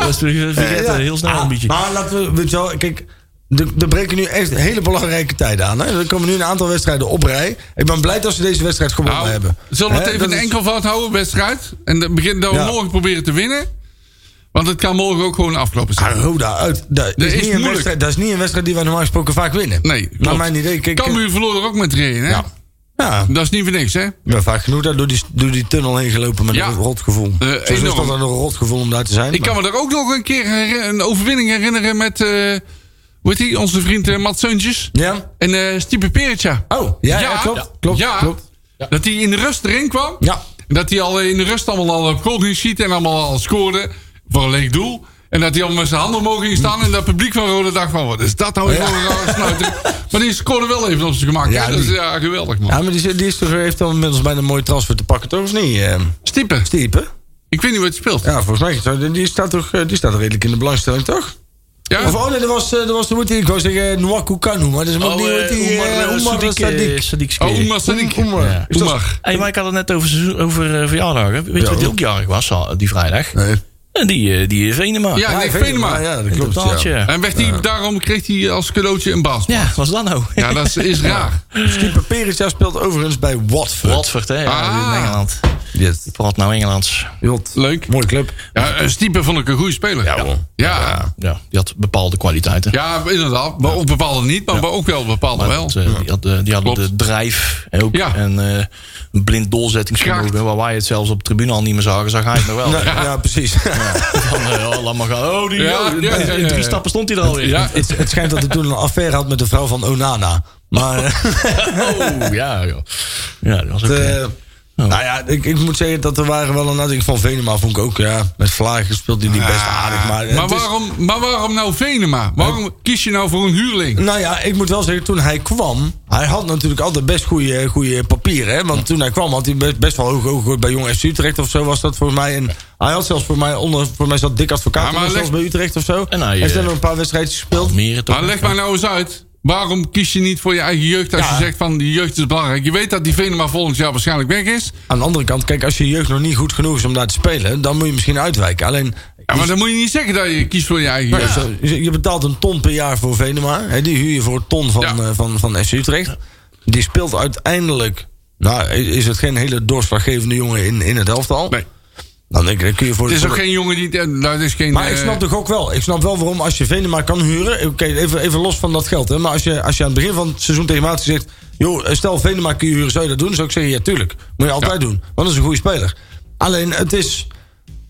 E: is natuurlijk- vergeet, eh,
B: Ja.
E: heel snel een
B: Ah,
E: beetje.
B: Maar laten we, weet je wel, kijk, er er breken nu echt hele belangrijke tijden aan. Hè. Er komen nu een aantal wedstrijden op rij. Ik ben blij dat ze deze wedstrijd gewonnen
F: Nou,
B: hebben.
F: zullen we het
B: Hè,
F: even
B: dat
F: een
B: is-
F: enkelvoud houden, wedstrijd? En dan begin dat we
B: Ja.
F: morgen proberen te winnen. Want het kan morgen ook gewoon afgelopen zijn.
B: Ah, Roda uit. Dat
F: Dat is
B: is, niet een
F: moeilijk.
B: wedstrijd, dat is niet een wedstrijd die wij normaal gesproken vaak winnen.
F: Nee,
B: Naar
F: klopt.
B: mijn idee. Kijk,
F: Cambuur verloor er ook met 3-1, hè?
B: Ja. Ja,
F: Dat is niet voor niks, hè?
B: Ik ben vaak genoeg daar door die, door die tunnel heen gelopen met
F: Ja.
B: een rotgevoel.
F: Eh,
B: Zo is
F: enorm.
B: dat dan een rotgevoel om daar te zijn.
F: Ik kan me er ook nog een keer her- een overwinning herinneren met... eh hoe heet die? Onze vriend eh, Mats Zeuntjes.
B: Ja?
F: En eh Stipe Peretja.
B: Oh, ja, ja, klopt. Klopt,
F: Ja.
B: klopt.
F: Dat hij in de rust erin kwam.
B: Ja.
F: En Dat hij al in de rust allemaal al op goal ging schieten en allemaal al scoorde voor een leeg doel. En dat hij al met zijn handen mogen ging staan en dat publiek van Rode dacht van wat is dat nou weer
B: Ja.
F: voor een rare snuiter. Maar die scoorde wel even op zijn gemak.
B: Ja,
F: Ja, dat is
B: die-
F: ja, geweldig man.
B: Ja, maar die, is- die is toch, heeft dan inmiddels bijna een mooie transfer te pakken, toch? Of niet? eh,
F: Stipe,
B: Stiepe?
F: ik weet niet wat je speelt.
B: Ja, volgens mij. zo- Die staat toch eh, die staat redelijk in de belangstelling, toch?
F: Ja?
B: Of oh nee, dat was, eh, dat was de moet ik wou zeggen eh, Nwaku Kanu, maar dat is ook
E: Oh,
B: niet
E: eh,
B: hoe die
E: Oemar, eh,
B: eh, Oemar
E: Sadiq, eh,
B: Sadiq.
E: Sadiq
F: Oh,
E: Skeer.
F: Oemar Sadiq.
B: Oemar. Is dat-
F: Oemar.
E: Hey, maar ik had het net over, seizoen- over eh, verjaardagen. Weet je wat die ook jarig was al- die vrijdag?
B: Nee.
E: En die, eh, die Venema.
F: Ja, Nick Venema.
B: Ja, dat klopt.
E: Inderdaad,
B: Ja.
E: ja.
F: En werd hij, daarom kreeg hij als cadeautje een baas.
E: Ja, wat was dat nou?
F: Ja, dat is, is raar.
B: Stiepe Perisja speelt overigens bij Watford.
E: Watford, hè? Ja,
F: Ah.
E: in Engeland.
B: Yes.
E: Wat nou Engelands?
B: Jot.
F: Leuk.
B: Mooie club.
F: Ja, eh, Stipe vond ik een goede speler. Ja,
E: hoor.
F: ja.
E: Ja, die had bepaalde kwaliteiten.
F: Ja, inderdaad. Maar ook bepaalde niet, maar ook wel bepaalde
E: Maar
F: wel.
E: dat, eh, die, had, eh, die hadden
F: Klopt.
E: de drijf en ook
F: Ja.
E: en, eh, een blind doorzettingsvermogen.
F: Kracht.
E: Waar wij het zelfs op de tribune al niet meer zagen, zag hij het nog
F: Oh.
E: wel.
B: Ja, ja, precies.
E: Van, eh, oh, laat maar gaan. Oh, die,
F: Ja,
E: oh,
F: ja, ja,
E: in
F: ja,
E: drie
F: ja.
E: stappen stond hij er alweer.
F: Ja,
B: Ah, het, het schijnt dat hij toen een affaire had met de vrouw van Onana. Maar eh,
E: Oh, ja, joh. Ja, dat was ook...
B: het,
E: eh,
B: eh, Nou ja, ik, ik moet zeggen dat er waren wel een aantal. Ik vond Venema vond ik ook, ja, met Vlaag gespeeld die die best aardig. Maar,
F: Ah. Maar
B: het is-
F: waarom, maar waarom nou Venema? Waarom kies je nou voor een huurling?
B: Nou ja, ik moet wel zeggen, toen hij kwam... Hij had natuurlijk altijd best goede, goede papieren. Hè? Want toen hij kwam had hij best, best wel hoog, hoog gegooid bij Jong FC Utrecht of zo was dat volgens mij. En hij had zelfs voor mij, onder, voor mij zat dik advocaat
F: Ja, maar
B: onder,
F: leg- nou,
B: zelfs bij Utrecht of zo.
E: En
B: En
E: hij,
B: hij
E: eh,
B: heeft dan nog een paar wedstrijdjes gespeeld.
E: Almere eh, toch?
F: Maar leg mij nou eens uit. Waarom kies je niet voor je eigen jeugd als
B: Ja.
F: je zegt van die jeugd is belangrijk? Je weet dat die Venema volgend jaar waarschijnlijk weg is.
B: Aan de andere kant, kijk, als je jeugd nog niet goed genoeg is om daar te spelen... dan moet je misschien uitwijken. Alleen,
F: Ja, maar dan moet je niet zeggen dat je kiest voor je eigen
B: Ja,
F: jeugd.
B: zo- je je betaalt een ton per jaar voor Venema. Hè, die huur je voor een ton van,
F: Ja.
B: eh, van, van FC Utrecht. Die speelt uiteindelijk... Nou, i- is het geen hele doorslaggevende jongen in, in het elftal. Nou,
F: Nee.
B: Dan denk ik, dan kun je voor
F: Het is
B: voor
F: ook geen jongen die... eh, Dat is geen,
B: Maar ik
F: eh,
B: snap toch ook wel. Ik snap wel waarom als je Venema kan huren. eh, Oké, even, even los van dat geld. Hè, maar als je, als je aan het begin van het seizoen tegen Maarten zegt. joh, eh, stel Venema kun je huren, zou je dat doen? Zou ik zeggen, ja, tuurlijk. Moet je altijd
F: Ja.
B: doen. Want dat is een goede speler. Alleen het is.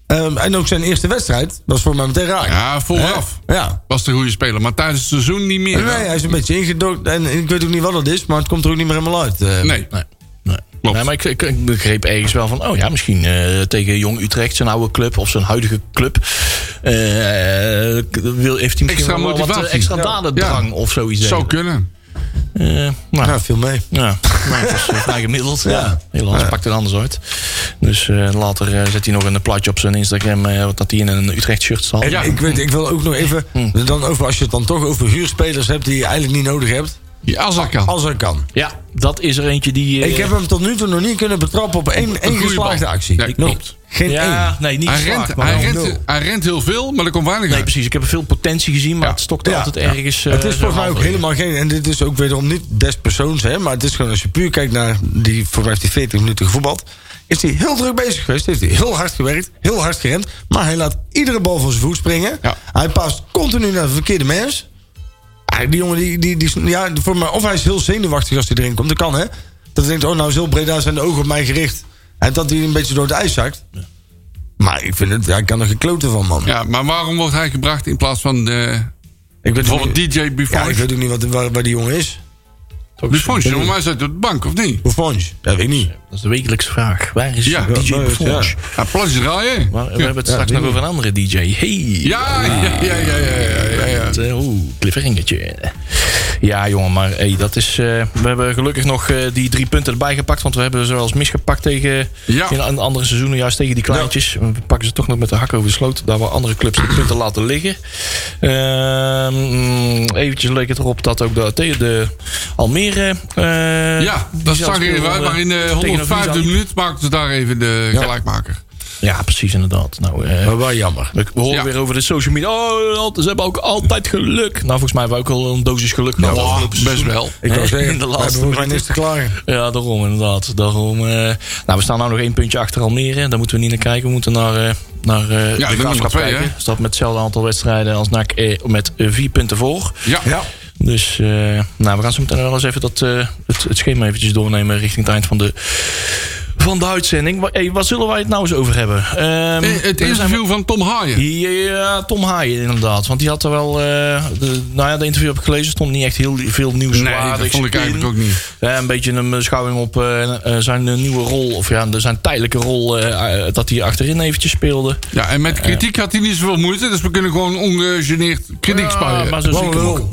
B: ehm, en ook zijn eerste wedstrijd was voor mij meteen raak.
F: Ja, vooraf.
B: Hè? Ja.
F: Was de goede speler. Maar tijdens het seizoen niet meer.
B: Nee, hij is een beetje ingedokt. En ik weet ook niet wat dat is, maar het komt er ook niet meer helemaal uit. eh.
F: nee.
E: Nee. Nee.
F: Klopt.
E: Nee, maar ik, ik, ik begreep ergens wel van, oh ja, misschien eh, tegen Jong Utrecht, zijn oude club of zijn huidige club, eh, wil, heeft hij misschien
F: Extra
E: wel wat
F: motivatie.
E: eh, extra
F: Ja.
E: dadendrang
F: Ja.
E: of zoiets.
F: Zou
E: denk ik.
F: kunnen.
E: Eh, nou,
B: Ja, veel mee.
E: Ja, maar het is eh, vrij gemiddeld. Ja. Nederlands pakt het anders uit. Dus eh, later eh, zet hij nog een plaatje op zijn Instagram... eh, wat dat hij in een Utrecht shirt zal.
B: En ik, weet, ik wil ook nog even.
F: Hm.
B: Dan over, als je het dan toch over huurspelers hebt die je eigenlijk niet nodig hebt.
F: Ja, als dat kan.
B: Als dat kan.
E: Ja, dat is er eentje die... eh,
B: Ik heb hem tot nu toe nog niet kunnen betrappen op één, één
F: goede
B: geslaagde
F: bal.
B: actie.
F: Ja,
B: Nog
F: klopt.
B: Geen
E: ja,
B: één.
E: nee, niet
F: hij,
E: geslaagd,
F: rent,
E: maar
F: hij,
E: wel-
F: rent,
B: nul.
F: hij rent heel veel, maar er komt weinig
E: Nee,
F: uit.
E: precies. Ik heb er veel potentie gezien, maar
F: Ja.
E: het stokte
B: Ja.
E: altijd ergens... eh,
B: het is
E: zo
B: volgens mij ook
E: halverwege.
B: helemaal geen. En dit is ook wederom niet des persoons, hè, maar het is gewoon als je puur kijkt naar die. Volgens mij heeft hij 40 minuten gevoetbald. Is hij heel druk bezig geweest. Heeft hij heel hard gewerkt. Heel hard gerend. Maar hij laat iedere bal van zijn voet springen.
F: Ja.
B: Hij past continu naar de verkeerde mens. Ah, die jongen, die, die, die, ja, voor mij, of hij is heel zenuwachtig als hij erin komt. Dat kan, hè? Dat hij denkt, oh, nou is heel Breda zijn de ogen op mij gericht. En dat hij een beetje door het ijs zakt. Maar ik vind het, ja, ik kan er gekloten van, man.
F: Ja, maar waarom wordt hij gebracht in plaats van de,
B: Ik weet ook
F: bijvoorbeeld
B: niet-
F: DJ
B: Ja, ik
F: Buffon?
B: weet ook niet wat, waar, waar die jongen is.
F: Buffon, jongen, maar hij zit op de bank, of niet?
B: Buffon? Dat weet ik niet.
E: Dat is de wekelijkse vraag. Waar is
F: Ja,
E: DJ
B: ja, ja.
E: Buffon?
B: Ja.
F: Ja, plasje draaien.
E: Maar we hebben het straks nog over een andere DJ. Hey!
F: Ja, ja, ja, ja, ja, ja, ja, ja.
E: Het, eh, Oeh, cliffhangertje. Ja, jongen, maar hey, dat is, eh, we hebben gelukkig nog eh, die drie punten erbij gepakt. Want we hebben ze wel eens misgepakt tegen
F: Ja.
E: in an- andere seizoenen, juist tegen die kleintjes. We pakken ze toch nog met de hak over de sloot. Daar waar andere clubs de punten laten liggen. Ehm, mm, eventjes leek het erop dat ook de, tegen de Almere. eh,
F: Ja,
E: die
F: dat
E: zelf
F: zag er even uit,
E: speelde eh,
F: maar in de
E: tegen Visa.
F: 105e minuut maakten ze daar even de
B: Ja.
F: gelijkmaker.
E: Ja, precies, inderdaad. Nou, eh,
B: Maar wel jammer.
E: we, we horen
F: Ja.
E: weer over de social media. Oh, al- ze hebben ook altijd geluk. Nou, volgens mij hebben we ook al een dosis geluk gehad.
F: Ja,
E: afgelopen
F: best
E: seizoen.
F: wel.
B: Ik wou
E: Eh,
B: zeggen,
E: in de
B: we
E: laatste
B: hebben volgens
E: minuten.
B: mij niks te klagen.
E: Ja, daarom inderdaad. Daarom, eh, nou, we staan nou nog één puntje achter Almere. Daar moeten we niet naar kijken. We moeten naar, eh, naar eh
F: de
E: de
F: nummer
E: graafschap
F: twee,
E: kijken.
F: hè?
E: Staat met hetzelfde aantal wedstrijden als NAC eh, met eh, vier punten voor.
F: Ja,
B: Ja.
E: Dus eh, nou, we gaan zo meteen wel eens even dat, eh, het, het schema eventjes doornemen richting het eind van de, van de uitzending. Wa- hey, wat zullen wij het nou eens over hebben? Ehm,
F: Eh, het
E: we zijn-
F: interview van Tom Haaien.
E: ja, Tom Haaien inderdaad. Want die had er wel... eh, de, nou ja, de interview heb ik gelezen. stond niet echt heel veel
F: Nee,
E: nieuwswaardigs
F: dat vond ik eigenlijk
E: in.
F: ook niet.
E: Ja, een beetje een beschouwing op eh, eh, zijn eh, nieuwe rol. Of ja, de- zijn tijdelijke rol eh, eh, dat hij achterin eventjes speelde.
F: Ja, en met kritiek had hij niet zoveel moeite, dus we kunnen gewoon ongegeneerd kritiek
E: Ja,
F: spuien.
E: Ah, maar zo zie ik hem ook.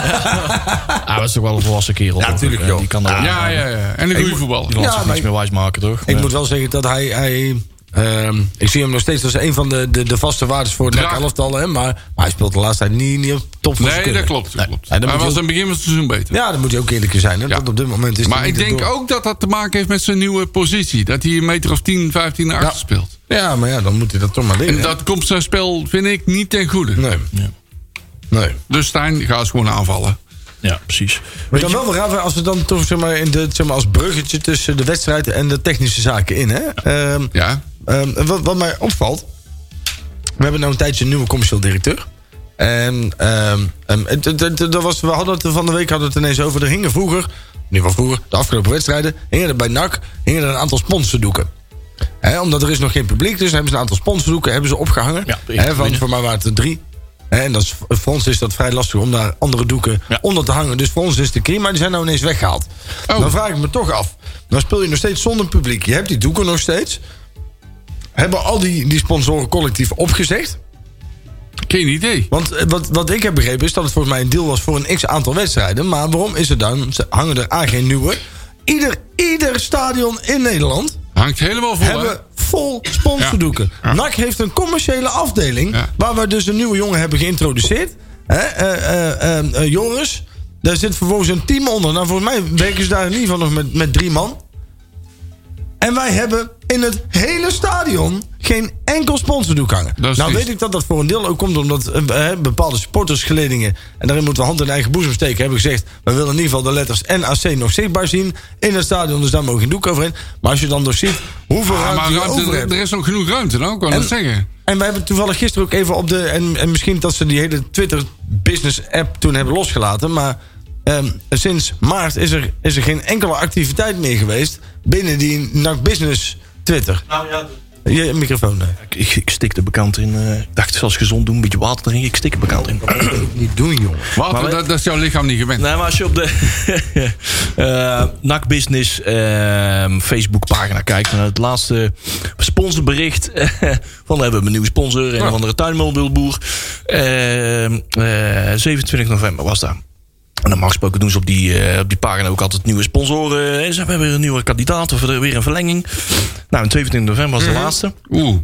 E: Ah, maar dat is toch wel een volwassen kerel. Ja,
B: tuurlijk, joh.
E: Die kan er,
F: Ja, ja, ja. En een goede
E: Die
F: voetballer.
E: laat
B: Ja,
E: zich
B: maar
E: niks
B: ik-
E: meer wijsmaken, toch?
B: Ik
E: Ja.
B: moet wel zeggen dat hij... hij ehm, ik zie hem nog steeds als een van de, de, de vaste waardes voor het
F: Ja.
B: NAC elftal. Hè, maar, maar hij speelt de laatste tijd niet, niet op top van zijn
F: Nee, dat
B: kunnen.
F: klopt. Dat klopt.
B: en dan
F: Hij
B: moet
F: was aan het
B: je
F: begin van het seizoen beter.
B: Ja, dat moet je ook eerlijk in zijn. Hè,
F: Ja.
B: Dat op dit moment is
F: Maar
B: hij
F: ik
B: niet
F: denk
B: erdoor.
F: ook dat dat te maken heeft met zijn nieuwe positie. Dat hij een meter of 10, 15 naar achter speelt.
B: Ja, maar ja, dan moet hij dat toch maar doen.
F: En
B: hè.
F: dat komt zijn spel, vind ik, niet ten goede.
B: Nee. Nee.
F: Dus Stijn, ga eens gewoon aanvallen.
E: Ja, precies.
B: Maar dan wel weer raar, als we dan toch zeg maar, in de, zeg maar, als bruggetje tussen de wedstrijd en de technische zaken in. Hè? Ehm,
F: Ja,
B: Ehm, wat, wat mij opvalt. We hebben nou een tijdje een nieuwe commercieel directeur. En ehm, ehm, het- het- het- dat was, we hadden het er van de week hadden we het ineens over. Er hingen vroeger, niet van vroeger, de afgelopen wedstrijden, hingen er bij NAC hingen er een aantal sponsordoeken. Hè, omdat er is nog geen publiek, dus hebben ze een aantal sponsordoeken hebben ze opgehangen.
E: Ja, ik
B: Hè, van,
E: weet
B: voor mij waren het er drie. Hè, En dat is, voor ons is dat vrij lastig om daar andere doeken
E: Ja.
B: onder te hangen. Dus voor ons is het een key, maar die zijn nou ineens weggehaald.
F: Oh.
B: Dan vraag ik me toch af. Dan speel je nog steeds zonder publiek. Je hebt die doeken nog steeds. Hebben al die, die sponsoren collectief opgezegd?
F: Geen idee.
B: Want eh, wat, wat ik heb begrepen is dat het volgens mij een deal was voor een x aantal wedstrijden. Maar waarom is er dan? Ze hangen er aan geen nieuwe. Ieder, ieder stadion in Nederland
F: Hangt helemaal vol. hè?
B: hebben vol sponsordoeken.
F: Ja. Ja.
B: NAC heeft een commerciële afdeling.
F: Ja.
B: Waar we dus een nieuwe jongen hebben geïntroduceerd. Hè? eh, eh, eh, eh, Joris. Daar zit vervolgens een team onder. Nou, volgens mij werken ze daar in ieder geval nog met, met drie man. En wij hebben in het hele stadion geen enkel sponsordoek hangen.
F: Dat is
B: Nou
F: triest.
B: weet ik dat dat voor een deel ook komt omdat eh, eh, bepaalde supportersgeledingen... en daarin moeten we hand in eigen boezem steken... hebben gezegd, we willen in ieder geval de letters NAC nog zichtbaar zien... in het stadion, dus daar mogen geen doek overheen. Maar als je dan nog ziet hoeveel
F: Ah,
B: ruimte
F: maar
B: je
F: ruimte-
B: over
F: er
B: hebt...
F: is nog genoeg ruimte, nou, kan ik
B: En-
F: zeggen.
B: En we hebben toevallig gisteren ook even op de... En, en misschien dat ze die hele Twitter-business-app toen hebben losgelaten... maar ehm, sinds maart is er, is er geen enkele activiteit meer geweest... binnen die NAC Business Twitter. Je microfoon, eh. nee.
E: Ik, ik, ik stik er bekant in. eh, ik dacht, zelfs gezond doen, een beetje water drinken. Ik stik er bekant in.
B: Niet doen, jongen.
F: Water,
E: wij-
F: dat, dat is jouw lichaam niet gewend.
E: Nee, maar als je op de eh NAC Business ehm Facebookpagina kijkt... naar het laatste sponsorbericht... eh, van we hebben een nieuwe sponsor, een of andere tuinmeulboer. Ehm, eh, 27 november was dat. En normaal gesproken doen ze op die, eh, op die pagina ook altijd nieuwe sponsoren. En ze hebben weer een nieuwe kandidaat of er weer een verlenging. Nou, en 27 november was de laatste.
B: Nou,
F: Oeh,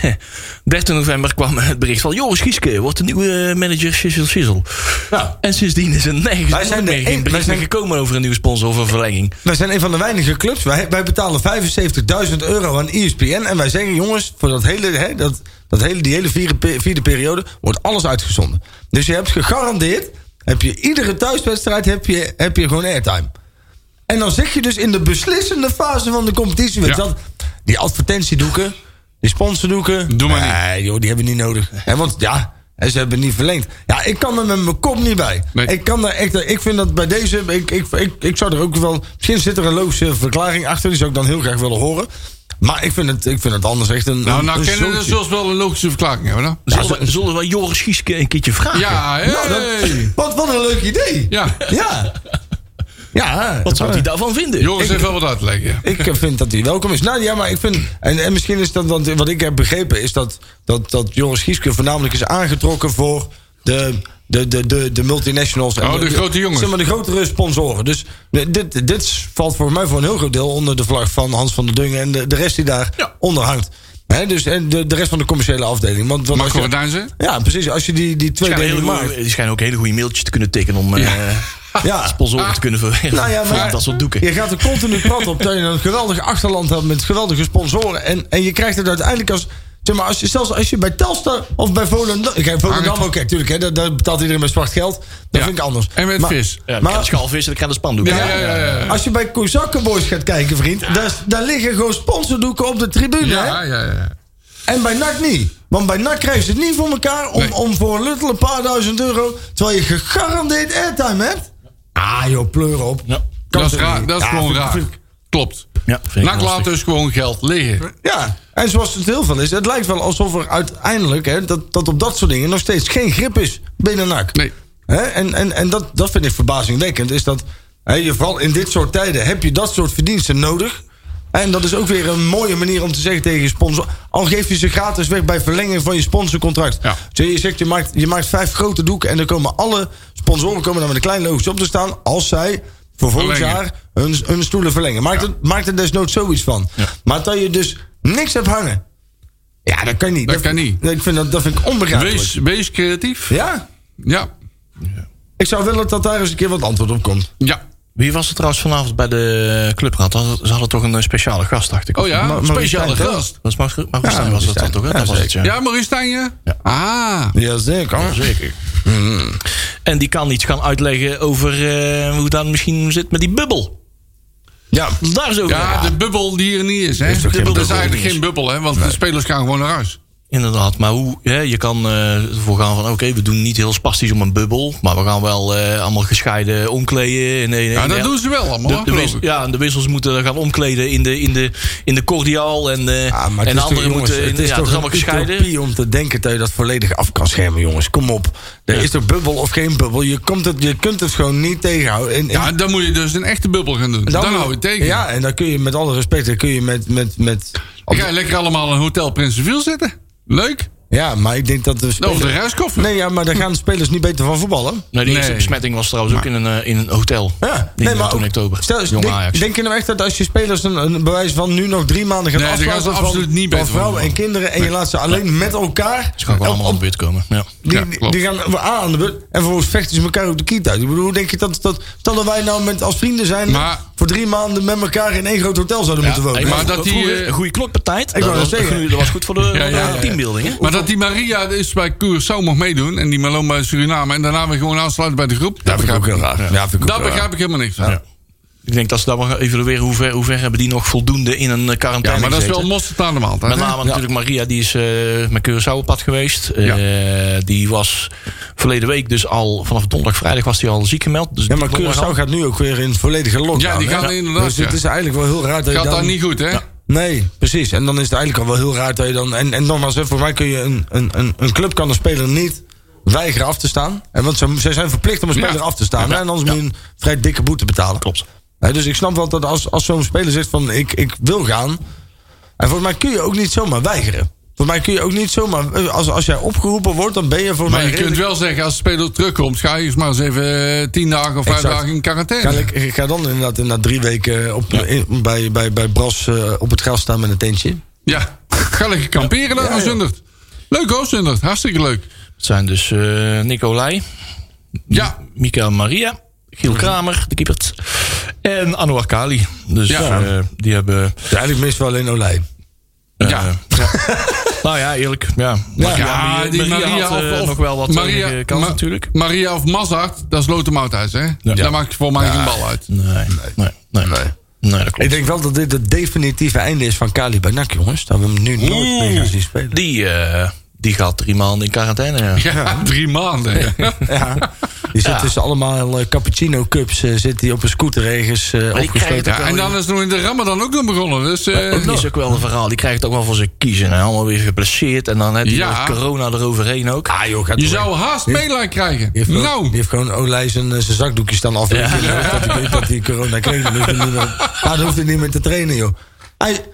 E: Eh, 13 november kwam het bericht van... Joris Gieske wordt de nieuwe eh, manager Shizzle Shizzle.
B: Ja.
E: En sindsdien is er nergens
B: Wij zijn
E: nooit
B: de
E: meer
B: een-
E: geen
B: wij
E: bericht
B: zijn-
E: meer gekomen... over een nieuwe sponsor of een verlenging.
B: Wij zijn een van de weinige clubs. Wij, wij betalen 75.000 euro aan E ESPN. En wij zeggen, jongens, voor dat hele, hè, dat, dat hele, die hele vierde, pe- vierde periode wordt alles uitgezonden. Dus je hebt gegarandeerd, heb je iedere thuiswedstrijd heb je, heb je gewoon airtime. En dan zeg je dus in de beslissende fase van de competitie... Weet je
F: Ja.
B: dat, die advertentiedoeken, die sponsordoeken...
F: Doe maar niet.
B: nee, Eh, joh, die hebben we niet nodig. Hè, want ja, hè, ze hebben niet verlengd. Ja, ik kan er met mijn kop niet bij.
F: Nee.
B: Ik, kan daar echt, ik vind dat bij deze... Ik, ik, ik, ik zou er ook wel... Misschien zit er een logische verklaring achter. Die zou ik dan heel graag willen horen. Maar ik vind het, ik vind het anders echt een...
F: nou,
B: een,
F: nou
B: een
F: kennen we
B: zootje.
F: zelfs wel een logische verklaring hebben, hè?
E: Zullen, we, zullen we Joris Gieske een keertje vragen?
F: Ja, hey.
B: Nou, dat- wat, wat een leuk idee.
F: ja.
B: Ja. Ja.
E: Wat zou hij daarvan vinden?
F: Joris heeft wel wat uit te leggen. ja.
B: Ik eh, vind dat hij welkom is. Nou ja, maar ik vind. En, en misschien is dat. Want wat ik heb begrepen is dat. Dat, dat Joris Gieske voornamelijk is aangetrokken voor. De, de, de, de, de multinationals. en
F: Oh, de grote jongens.
B: Zeg maar de grotere sponsoren. Dus de- dit, dit valt voor mij voor een heel groot deel onder de vlag van Hans van der Dungen. En de, de rest die daar onder hangt. Hè, dus en de, de rest van de commerciële afdeling. Want, want
F: Marco
B: als je-
F: van Duinzen?
B: Ja, precies. Als je die, die twee
E: Die schijnen,
B: dingen
E: hele
B: maakt.
E: goeie- die schijnen ook hele goede mailtjes te kunnen tikken... om eh
F: Ah,
B: Ja.
E: sponsoren te kunnen verwerven.
B: Nou ja, maar
E: Voor dat soort doeken.
B: Je gaat er continu plat op dat je een geweldig achterland hebt met geweldige sponsoren. En, en je krijgt het uiteindelijk als. Zeg maar, als je, zelfs als je bij Telstar of bij Volendam. Ik heb Volendam,
F: Hangt-
B: oké, tuurlijk, hè, daar, daar betaalt iedereen met zwart geld. Dat
F: Ja.
B: vind ik anders.
F: En met
B: maar,
F: vis.
E: Ja, dan
B: maar-
E: krijg je schalvis en dan krijg je een spandoek.
F: Ja, ja, ja. ja.
B: Als je bij Kozakkenboys gaat kijken, vriend, daar, daar liggen gewoon sponsordoeken op de tribune. hè?
F: Ja, ja, ja.
B: En bij NAC niet. Want bij NAC krijgen ze het niet voor elkaar om,
F: Nee.
B: om voor een luttel een paar duizend euro. Terwijl je gegarandeerd airtime hebt. Ah joh, pleur op.
E: Ja.
F: Dat
B: Kan
F: is,
B: toch
F: raar,
B: niet?
F: dat is
B: Ja,
F: gewoon
B: vind ik-
F: raar.
B: vind ik-
F: Klopt.
E: Ja, vind ik
F: Nak
E: lastig.
F: laat dus gewoon geld liggen.
B: Ja, en zoals het heel veel is, het lijkt wel alsof er uiteindelijk hè, dat, dat op dat soort dingen nog steeds geen grip is binnen NAC.
F: Nee.
B: Hè, en en, en dat, dat vind ik verbazingwekkend. Is dat hè, je vooral in dit soort tijden heb je dat soort verdiensten nodig. En dat is ook weer een mooie manier om te zeggen tegen je sponsor. Al geef je ze gratis weg bij verlenging van je sponsorcontract.
F: Ja.
B: Dus je zegt, je maakt, je maakt vijf grote doeken. En dan komen alle sponsoren komen dan met een klein logootje op te staan. Als zij voor volgend
F: Verlengen.
B: jaar hun, hun stoelen verlengen. Maakt, het, maakt er desnoods zoiets van. Maar dat je dus niks hebt hangen. Ja, dat kan niet.
F: Dat kan niet.
B: nee, Ik vind dat, dat vind ik onbegrijpelijk.
F: Wees, wees creatief.
B: Ja,
F: Ja.
B: ik zou willen dat daar eens een keer wat antwoord op komt.
F: Ja.
E: Wie was er trouwens vanavond bij de clubraad? Hadden- Ze hadden toch een eh, speciale gast, dacht ik.
F: Oh ja?
E: Een speciale
B: Maurice
E: gast. Dat is Max Max Stijn was dat
B: Maurice
E: dan toch? hè?
B: Stijn.
E: dat was het, ja.
F: Ja, Maurice Stijn, ja? Ah.
B: Jazeker. Zeker.
E: En die kan iets gaan uitleggen over eh, hoe dat misschien zit met die bubbel.
B: Ja,
E: Daar is ook
F: Ja, de bubbel die er niet is, hè?
B: toch geen
F: dat is
B: bubbel
F: eigenlijk
E: die er
F: geen bubbel, hè? Want de spelers gaan gewoon naar huis.
E: Inderdaad, maar hoe, hè, je kan eh, ervoor gaan van oké, we doen niet heel spastisch om een bubbel, maar we gaan wel eh, allemaal gescheiden omkleden. En, en-
F: Ja,
E: en-
F: dat doen ze wel allemaal.
E: de, de
F: geloof
E: wis-
F: ik.
E: ja, en de wissels moeten gaan omkleden in de, in de, in de cordiaal. En, eh,
B: Ja, maar het
E: en
B: is
E: de
B: toch,
E: anderen
B: jongens,
E: moeten. in-
B: het is
E: ja,
B: toch
E: het is allemaal
B: een
E: gescheiden.
B: utopie om te denken dat je dat volledig af kan schermen, jongens. Kom op. Er
E: Ja.
B: is toch bubbel of geen bubbel? Je, komt het, je kunt het gewoon niet tegenhouden. En- en-
F: Ja, dan moet je dus een echte bubbel gaan doen. Dan, hou je het tegen.
B: Ja, en dan kun je met alle respect, dan kun je met... met, met
F: Dan ga je lekker allemaal in Hotel Prinsenviel zitten. Leuk.
B: ja, maar ik denk dat de
F: Dan
B: spelers...
F: Over Nou, de reiskoffer.
B: Nee, ja, maar daar gaan de spelers niet beter van voetballen.
E: Nee, de eerste
F: Nee.
E: besmetting was trouwens ook in een, eh, in een hotel.
B: Ja,
E: Die, eh, toen
B: ook-
E: in oktober.
B: Stel,
E: Jong
B: denk,
E: Ajax.
B: denk je nou echt dat als je spelers een, een bewijs van nu nog drie maanden gaat
F: Nee, daar gaan ze
B: afsluiten
F: absoluut
B: van,
F: niet
B: van
F: beter van
B: vrouwen en
F: worden.
B: kinderen en je laat ze alleen met elkaar
E: Ze gaan gewoon allemaal aan de beurt komen. Ja.
B: Die,
F: Ja, klopt.
B: die gaan aan aan de beurt. En vervolgens vechten ze elkaar op de kiet uit. Ik bedoel, hoe denk je dat, dat... Stel dat wij nou met, als vrienden zijn...
F: Maar-
B: voor drie maanden met elkaar in één groot hotel zouden moeten wonen.
E: Hey,
F: maar dat die,
E: vroeger
F: eh,
E: een goede klokpartij. Dat,
B: wou
E: was-
B: dat
E: dat,
B: zeggen.
E: was goed voor de,
F: ja,
E: voor de
F: ja, ja.
E: teambuilding. hè?
F: Maar dat die Maria dus bij Curaçao mag meedoen. En die Malone bij Suriname. En daarna weer gewoon aansluiten bij de groep. Dat, begrijp,
B: heel raar. Ja, vind ik ook
F: dat
B: heel raar.
F: begrijp ik helemaal niks van. Ja,
E: Ik denk dat ze daar maar gaan evalueren hoe ver, hoe ver hebben die nog voldoende in een eh, quarantaine
F: maar dat is
E: gezeten.
F: wel mosterd aan de maand.
E: Met name natuurlijk Maria, die is eh, met Curaçao op pad geweest. Eh, die was verleden week dus al, vanaf donderdag, vrijdag was die al ziek gemeld. Dus
B: Ja, maar
E: die kon er
B: Curaçao
E: al-
B: gaat nu ook weer in volledige lockdown.
F: Ja, die
B: hè?
F: gaan inderdaad,
B: Dus het
F: ja.
B: is eigenlijk wel heel raar dat je
F: Gaat
B: dan...
F: daar niet goed, hè?
B: Nee, precies. En dan is het eigenlijk al wel heel raar dat je dan... En, en nogmaals, hè, voor mij kun je een, een, een, een club kan een speler niet weigeren af te staan. En want ze, zij zijn verplicht om een
F: Ja.
B: speler af te staan. hè, En anders moet je een vrij dikke boete betalen.
E: Klopt.
B: Hè, dus ik snap wel dat als, als zo'n speler zegt van ik, ik wil gaan. En volgens mij kun je ook niet zomaar weigeren. Volgens mij kun je ook niet zomaar... eh, Als, als jij opgeroepen wordt, dan ben je volgens
F: Maar
B: mij...
F: je kunt wel zeggen, als de speler terugkomt, ga je eens maar eens even eh, tien dagen of vijf
B: Exact.
F: dagen in
B: Ga,
F: quarantaine.
B: ik ga dan inderdaad, inderdaad drie weken op, in- bij, bij, bij Bras eh, op het gras staan met een tentje.
F: Ja, ga lekker kamperen dan,
B: Ja, ja.
F: Zundert. Leuk hoor, Zundert. Hartstikke leuk.
E: Het zijn dus eh Nicolai,
F: Ja,
E: Mikael Maria, Giel Kramer, de keeper. En Anouar Kali. Dus
F: Ja.
E: eh, die hebben...
B: Dus eigenlijk mis wel alleen Olij.
E: eh,
F: Ja.
E: nou ja, eerlijk. Ja. Maria,
F: Ja, die Maria,
E: had eh,
F: of- of
E: nog wel wat
F: Maria-
E: Maria, kans
F: Ma-
E: natuurlijk.
F: Maria of Mazart, dat is Lothar Mauthuis, hè? Daar maakt voor mij geen bal uit.
E: Nee, nee, nee. Nee, dat klopt.
B: Ik denk wel dat dit het definitieve einde is van Kali bij NAC, jongens. Dat we hem nu nooit meer gaan zien spelen.
E: Die, eh, die gaat drie maanden in quarantaine. ja.
F: Ja, drie maanden.
B: Ja. Die zit tussen allemaal eh, cappuccino cups. eh, zit hij op een scooter ergens eh,
E: krijg
B: opgesloten.
E: het
F: Ja, en dan is nog in de Ramadan ook nog begonnen. Dus, eh,
E: Dat is ook wel een verhaal. Die krijgt ook wel voor zijn kiezen. En allemaal weer geblesseerd. En dan heeft hij
F: Ja.
E: nog corona eroverheen ook.
B: Ah, joh, gaat
F: je
B: door.
F: zou haast meelijn krijgen.
B: Die heeft, gewoon- die
F: Nou,
B: heeft gewoon Olij zijn, eh, zijn zakdoekjes dan af.
E: Ja.
B: Dat hij weet dat hij corona kreeg. Dan hoeft hij niet meer, ah, dan hoeft hij niet meer te trainen, joh. Hij,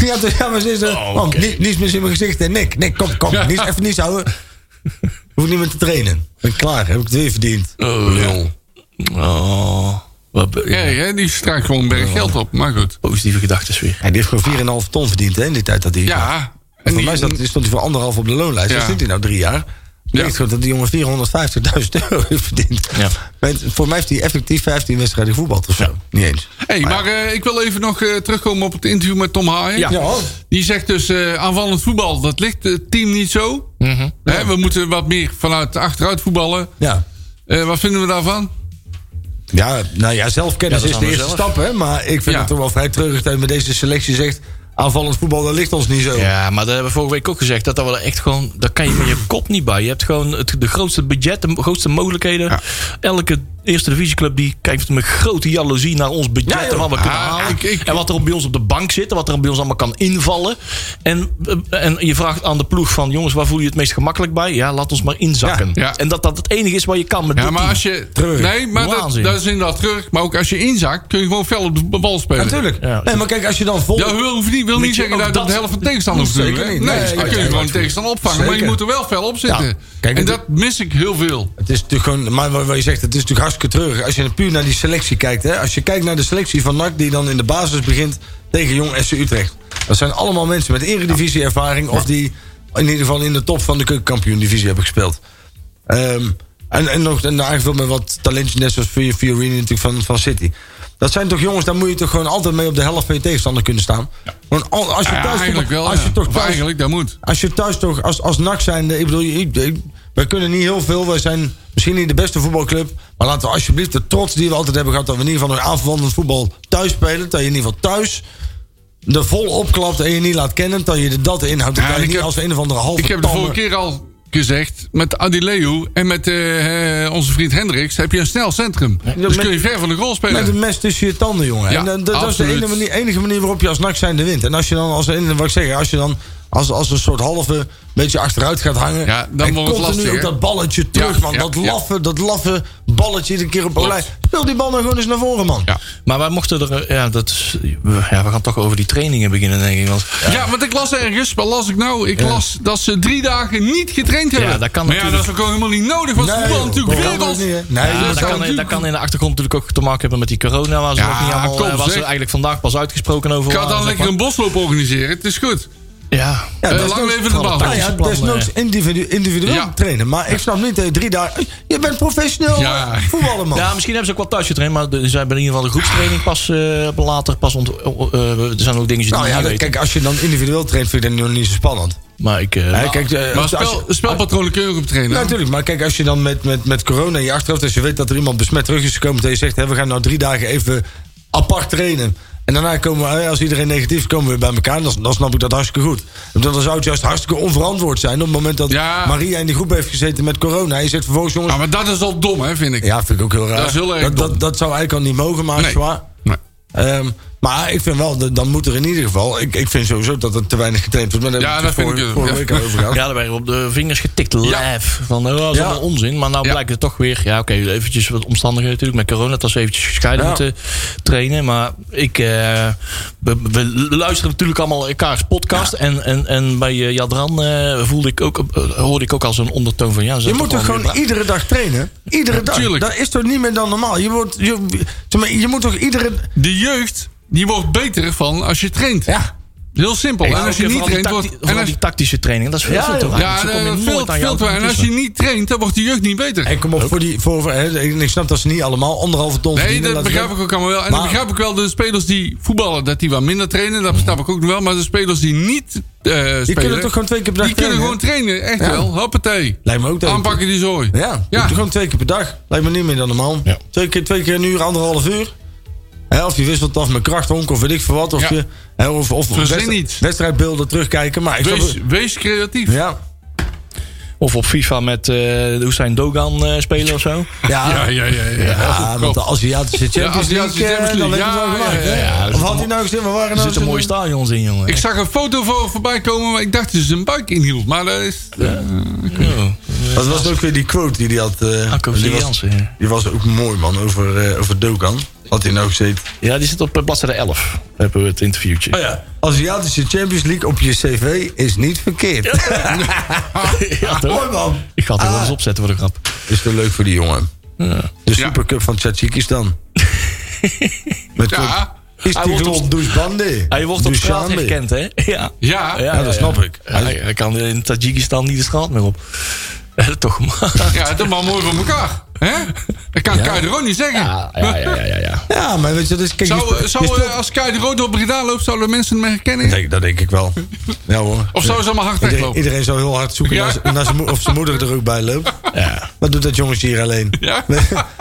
B: ja, dus, ja, maar ze is er.
E: Oh,
B: man,
E: oké.
B: ni- niets meer in mijn gezicht. En Nick, Nick, kom, kom. Niets, even niets houden. Hoef niet meer te trainen. Ben ik klaar. Heb ik het weer verdiend.
E: Oh, lul. Oh. Wat be-
F: ja, hè, die straakt gewoon een berg geld op. Maar goed.
E: Positieve gedachten weer.
B: Ja, die heeft gewoon 4,5 ton verdiend hè, in die tijd dat hij.
F: Ja.
B: En
F: En
B: voor
F: die,
B: mij staat, stond hij voor anderhalf op de loonlijst.
F: Ja.
B: Daar zit hij nou drie jaar.
F: Ja.
B: Ja. gewoon dat die jongen 450.000 euro heeft verdiend.
E: Ja.
B: Met- voor mij heeft hij effectief 15 wedstrijden voetbal of zo. Niet eens.
F: hey, maar eh, ik wil even nog eh, terugkomen op het interview met Tom Haaien.
E: Ja.
B: hoor.
F: Die zegt dus eh, aanvallend voetbal, dat ligt het team niet zo.
B: Mhm.
F: Hè, we moeten wat meer vanuit achteruit voetballen.
B: ja.
F: Eh, wat vinden we daarvan?
B: Ja, nou ja, zelfkennis
E: Ja, dat
B: is
E: is
B: de
E: aan
B: eerste
E: mezelf.
B: stap, hè. Maar ik vind
F: Ja.
B: het toch wel vrij treurig dat je met deze selectie zegt... aanvallend voetbal, dat ligt ons niet zo.
E: Ja, maar dat hebben we vorige week ook gezegd. Dat, dat we er echt gewoon, daar kan je met je kop niet bij. Je hebt gewoon het, de grootste budget, de grootste mogelijkheden. Elke eerste divisieclub die kijkt met grote jaloezie naar ons budget.
B: Ja, joh.
E: en wat we kunnen
F: Ah,
E: halen.
F: ik- ik-
E: en wat er bij ons op de bank zit. En wat er bij ons allemaal kan invallen. En, eh, en je vraagt aan de ploeg van... Jongens, waar voel je het meest gemakkelijk bij? Ja, laat ons maar inzakken.
F: Ja, ja.
E: En dat dat het enige is waar je kan met
F: Ja,
E: dit
F: maar
E: team.
F: als je.
B: Terug.
F: Nee, maar dat,
E: Waanzin.
F: dat is inderdaad terug. Maar ook als je inzakt, kun je gewoon fel op de bal spelen.
B: Natuurlijk.
E: Ja.
B: nee, maar kijk, als je dan vol...
F: Dat wil, hoeft niet, wil
E: Met
F: niet
E: je-
F: zeggen
E: ook
F: dat je
E: dat-
F: op de helft van de tegenstander hoeft te doen.
B: Zeker
F: hè?
B: niet, nee,
F: Nee, dan kun je
B: uiteraard
F: gewoon de
B: niet.
F: tegenstander opvangen. Maar je
B: Zeker.
F: moet er wel fel op zitten.
B: Ja. Kijk,
F: en
B: het-
F: dat mis ik heel veel.
B: Het is natuurlijk gewoon, maar wat wat je zegt, het is natuurlijk hartstikke treurig. Als je puur naar die selectie kijkt, hè. Als je kijkt naar de selectie van NAC, die dan in de basis begint tegen Jong SC Utrecht. Dat zijn allemaal mensen met eredivisieervaring of die in ieder geval in de top van de keukenkampioen-divisie hebben gespeeld. Ehm, en, en nog en aangevuld met wat talentjes, net zoals Fi- Fiorini natuurlijk van, van City. Dat zijn toch jongens, daar moet je toch gewoon altijd mee op de helft van je tegenstander kunnen staan. Want al- als je
F: Ja,
B: thuis,
F: eigenlijk wel.
B: als je
F: ja.
B: toch
F: Of
B: thuis,
F: eigenlijk, dat moet.
B: als je thuis toch, als, als NAC zijn, ik bedoel, ik, ik- wij kunnen niet heel veel. Wij zijn misschien niet de beste voetbalclub. Maar laten we alsjeblieft de trots die we altijd hebben gehad... dat we in ieder geval nog aanverwantend voetbal thuis spelen. Dat je in ieder geval thuis er vol opklapt en je niet laat kennen... dat je dat inhoudt. Dan
F: Ja,
B: kan je
F: ik
B: niet
F: heb-
B: als een of andere halve
F: Ik heb de
B: tamme-
F: vorige keer al gezegd, met Adileu en met eh, eh, onze vriend Hendricks heb je een snel centrum. Dus
B: met-
F: kun je ver van de goal spelen.
B: Met een mes tussen je tanden, jongen.
F: Ja,
B: en, dan- dat dat is de
F: absoluut.
B: enige manier, enige manier waarop je als nacht zijnde wint. En als je dan, als, en wat ik zeg, als je dan als, als een soort halve beetje achteruit gaat hangen.
F: Ja, dan
B: en
F: wordt het
B: continu
F: lastig,
B: ook
F: hè?
B: dat balletje terug,
F: Ja,
B: man.
F: ja,
B: dat,
F: ja.
B: laffe, dat laffe balletje iedere keer op een
F: Klopt.
B: lijn. Speel die bal nou gewoon eens naar voren, man.
F: Ja.
E: Maar wij mochten er... eh, Ja, dat is, we- ja, we gaan toch over die trainingen beginnen, denk ik. Want, ja,
F: Ja, want ik las ergens, wat las ik nou? Ik las dat ze drie dagen niet getraind hebben.
E: Ja, dat kan
F: maar ja, dat
E: natuurlijk.
F: is ook gewoon helemaal niet nodig, want ze
B: Nee,
F: voetballen
B: joh,
F: natuurlijk
B: dat kan
F: wereld.
B: ook niet, hè?
E: maar
B: Nee,
F: dat
E: dat,
F: kan
E: kan, dat
F: natuurlijk-
E: kan in de achtergrond natuurlijk ook te maken hebben met die corona. Waar ze
F: Ja,
E: nog niet allemaal,
F: kom,
E: eh, waar ze
F: zeg.
E: eigenlijk vandaag pas uitgesproken over
F: Ik ga
E: waren, zeg
F: dan lekker
E: maar.
F: een bosloop organiseren, het is goed.
E: Ja.
B: Ja,
F: Eh,
B: dat is
F: lang
B: ook-
F: leven de bal.
E: Nou
B: Nou ja,
E: plan,
B: desnoods
E: eh.
B: individu individueel
F: Ja.
B: trainen. Maar ik snap niet dat je drie dagen... Je bent professioneel
F: Ja.
B: eh, voetballer, man.
E: Ja, misschien hebben ze ook wel thuis getraind, maar de- ze hebben in ieder geval de groepstraining pas eh, later pas ont. eh, er zijn ook dingen die
B: nou
E: je niet
B: ja, dan-
E: weet.
B: kijk, als je dan individueel traint, vind ik dat nog niet zo spannend.
E: Maar ik. eh,
B: Hè,
E: nou,
B: kijk, eh,
F: Maar
B: als je-
F: spel, spelpatronen kun je ook op trainen.
B: Ja, Nou, natuurlijk. Maar kijk, als je dan met, met, met corona in je achterhoofd... als je weet dat er iemand besmet terug is gekomen... dat je zegt, hè, we gaan nou drie dagen even apart trainen... En daarna komen we, hè, als iedereen negatief is, komen we weer bij elkaar. Dan, dan snap ik dat hartstikke goed. Want dan zou het juist hartstikke onverantwoord zijn... op het moment dat
F: Ja.
B: Maria in die groep heeft gezeten met corona. En je zegt vervolgens, jongens...
F: Ja, maar dat is al dom, hè, vind ik.
B: Ja, vind ik ook heel raar.
F: Dat is heel erg
B: dat,
F: dom.
B: dat, dat zou eigenlijk al niet mogen, maar
F: Nee.
B: zwaar.
F: Nee.
B: Ehm, maar ik vind wel, dat- dan moet er in ieder geval... Ik, ik vind sowieso dat er te weinig getraind wordt. Maar daar
F: Ja,
B: hebben we
F: dat
B: het
F: vind ik
B: vorige-
F: ook,
B: vorige week
F: ja.
B: over gehad.
E: ja, daar werden we op de vingers getikt. Lijf. Van, oh, dat is
B: Ja.
E: allemaal onzin. Maar nou
F: Ja.
E: blijkt het toch weer. Ja, oké, eventjes wat omstandigheden natuurlijk. Met corona, dat ze eventjes gescheiden
B: Ja.
E: moeten trainen. Maar ik. eh, we, we luisteren natuurlijk allemaal elkaars podcast. En, en, en bij eh, Jadran eh, voelde ik ook, eh, hoorde ik ook al zo'n ondertoon van. Ja, ze
B: Je
E: zijn
B: moet toch
E: wel
B: gewoon
E: weer bra-
B: iedere dag trainen? Iedere dag.
F: tuurlijk.
B: Dat is toch niet meer dan normaal? Je, wordt, je, zeg maar, je moet toch iedere...
F: De jeugd, die wordt beter van als je traint.
B: Ja.
F: Heel simpel.
E: Ik
F: en als je
E: ook, eh,
F: niet
E: vooral die
F: traint,
E: tacti-
F: wordt... En
E: vooral
F: als,
E: die tactische training, dat is veel
B: Ja,
E: te weinig.
B: joh.
F: ja,
E: Ze
F: eh,
E: komen
F: veel
E: nooit
F: te
E: aan jou
F: veel te En als
E: toekomen.
F: je niet traint, dan wordt de jeugd niet beter.
B: En kom op, voor die, voor, voor- hè, ik snap dat ze niet allemaal anderhalve ton
F: Nee,
B: verdienen,
F: dat
B: is
F: begrijp ik
B: leuk.
F: ook allemaal wel. En
B: Maar-
F: dat begrijp ik wel de spelers die voetballen, dat die wat minder trainen. Dat snap ik ook nog wel. Maar de spelers die niet eh spelen...
B: kunnen toch gewoon twee keer per dag
F: Die kunnen gewoon
B: trainen,
F: trainen, echt
B: Ja.
F: wel. Hoppatee.
B: Lijkt me ook dat je-
F: Aanpakken die zooi.
B: Ja, je doet gewoon twee keer per dag. Lijkt me niet meer dan normaal.
E: Ja.
B: Twee, keer, twee keer een uur, anderhalf uur. Hè, Of je wisselt af met krachthonk of weet ik veel wat. Of,
F: Ja.
B: je, hè, of, of
F: Verzin iets.
B: wedstrijdbeelden terugkijken. Maar ik snap
F: Wees,
B: het-
F: wees creatief.
B: ja.
E: Of op FIFA met eh Hussein Dogan eh, spelen of zo.
B: Ja,
F: Ja, ja, ja. ja.
B: Ja, want Ah, de Aziatische Champions
F: Aziatische
B: League, eh,
F: Champions
B: dan
F: League.
B: weet je het wel
F: Ja,
B: gelijk.
F: ja,
B: hè?
E: ja, ja.
B: Of had hij nou gezien, waar waren
E: Er
B: nou
E: zitten
B: zijn-
E: mooie stadions in, jongen.
F: Ik zag een foto voor, voorbij komen, maar ik dacht dat ze zijn buik inhield. Maar dat is...
E: Ja.
B: Dat was ook weer die quote die hij had. eh,
E: Akko
B: die, was,
E: Jansen, ja.
B: die was ook mooi, man, over, eh, over Dokan. Had hij nou gezeten.
E: Ja, die zit op eh, bladzijde 11. Daar hebben we het interviewtje.
B: Oh, Aziatische Champions League op je cv is niet verkeerd.
E: Ja, toch?
B: Ah, Mooi, man.
E: Ik ga het er wel eens opzetten voor de grap.
B: Is toch leuk voor die jongen. De
F: Ja.
B: Supercup van Tsatsikistan. Met
F: Ja,
E: Hij wordt
B: Istiklol
E: op-
B: Douchebande.
E: Hij Ah, wordt op straat
B: Dushanbe.
E: herkend, hè? Ja.
F: Ja. Ja,
B: dat snap ik.
E: Hij, hij kan in Tajikistan niet de straat meer op. Toch maar.
F: ja, dat is maar mooi voor elkaar. Hè? Dat kan Kai de Roon niet zeggen.
E: Ja, Ah, ja, ja, ja, ja, ja.
B: Ja, maar weet je, dat is... Kijk, je
F: Zou,
B: speelt-
F: zou,
B: je speelt-
F: eh, als Kai de Roon door Breda loopt, zouden mensen hem herkennen?
B: Nee, dat denk ik wel. Ja hoor.
F: Of zou ze allemaal hard
B: Iedereen,
F: weglopen?
B: iedereen zou heel hard zoeken
F: Ja.
B: naar, z- naar zijn moe- of zijn moeder er ook bij loopt.
E: Ja.
B: Wat doet dat jongetje hier alleen?
F: Ja.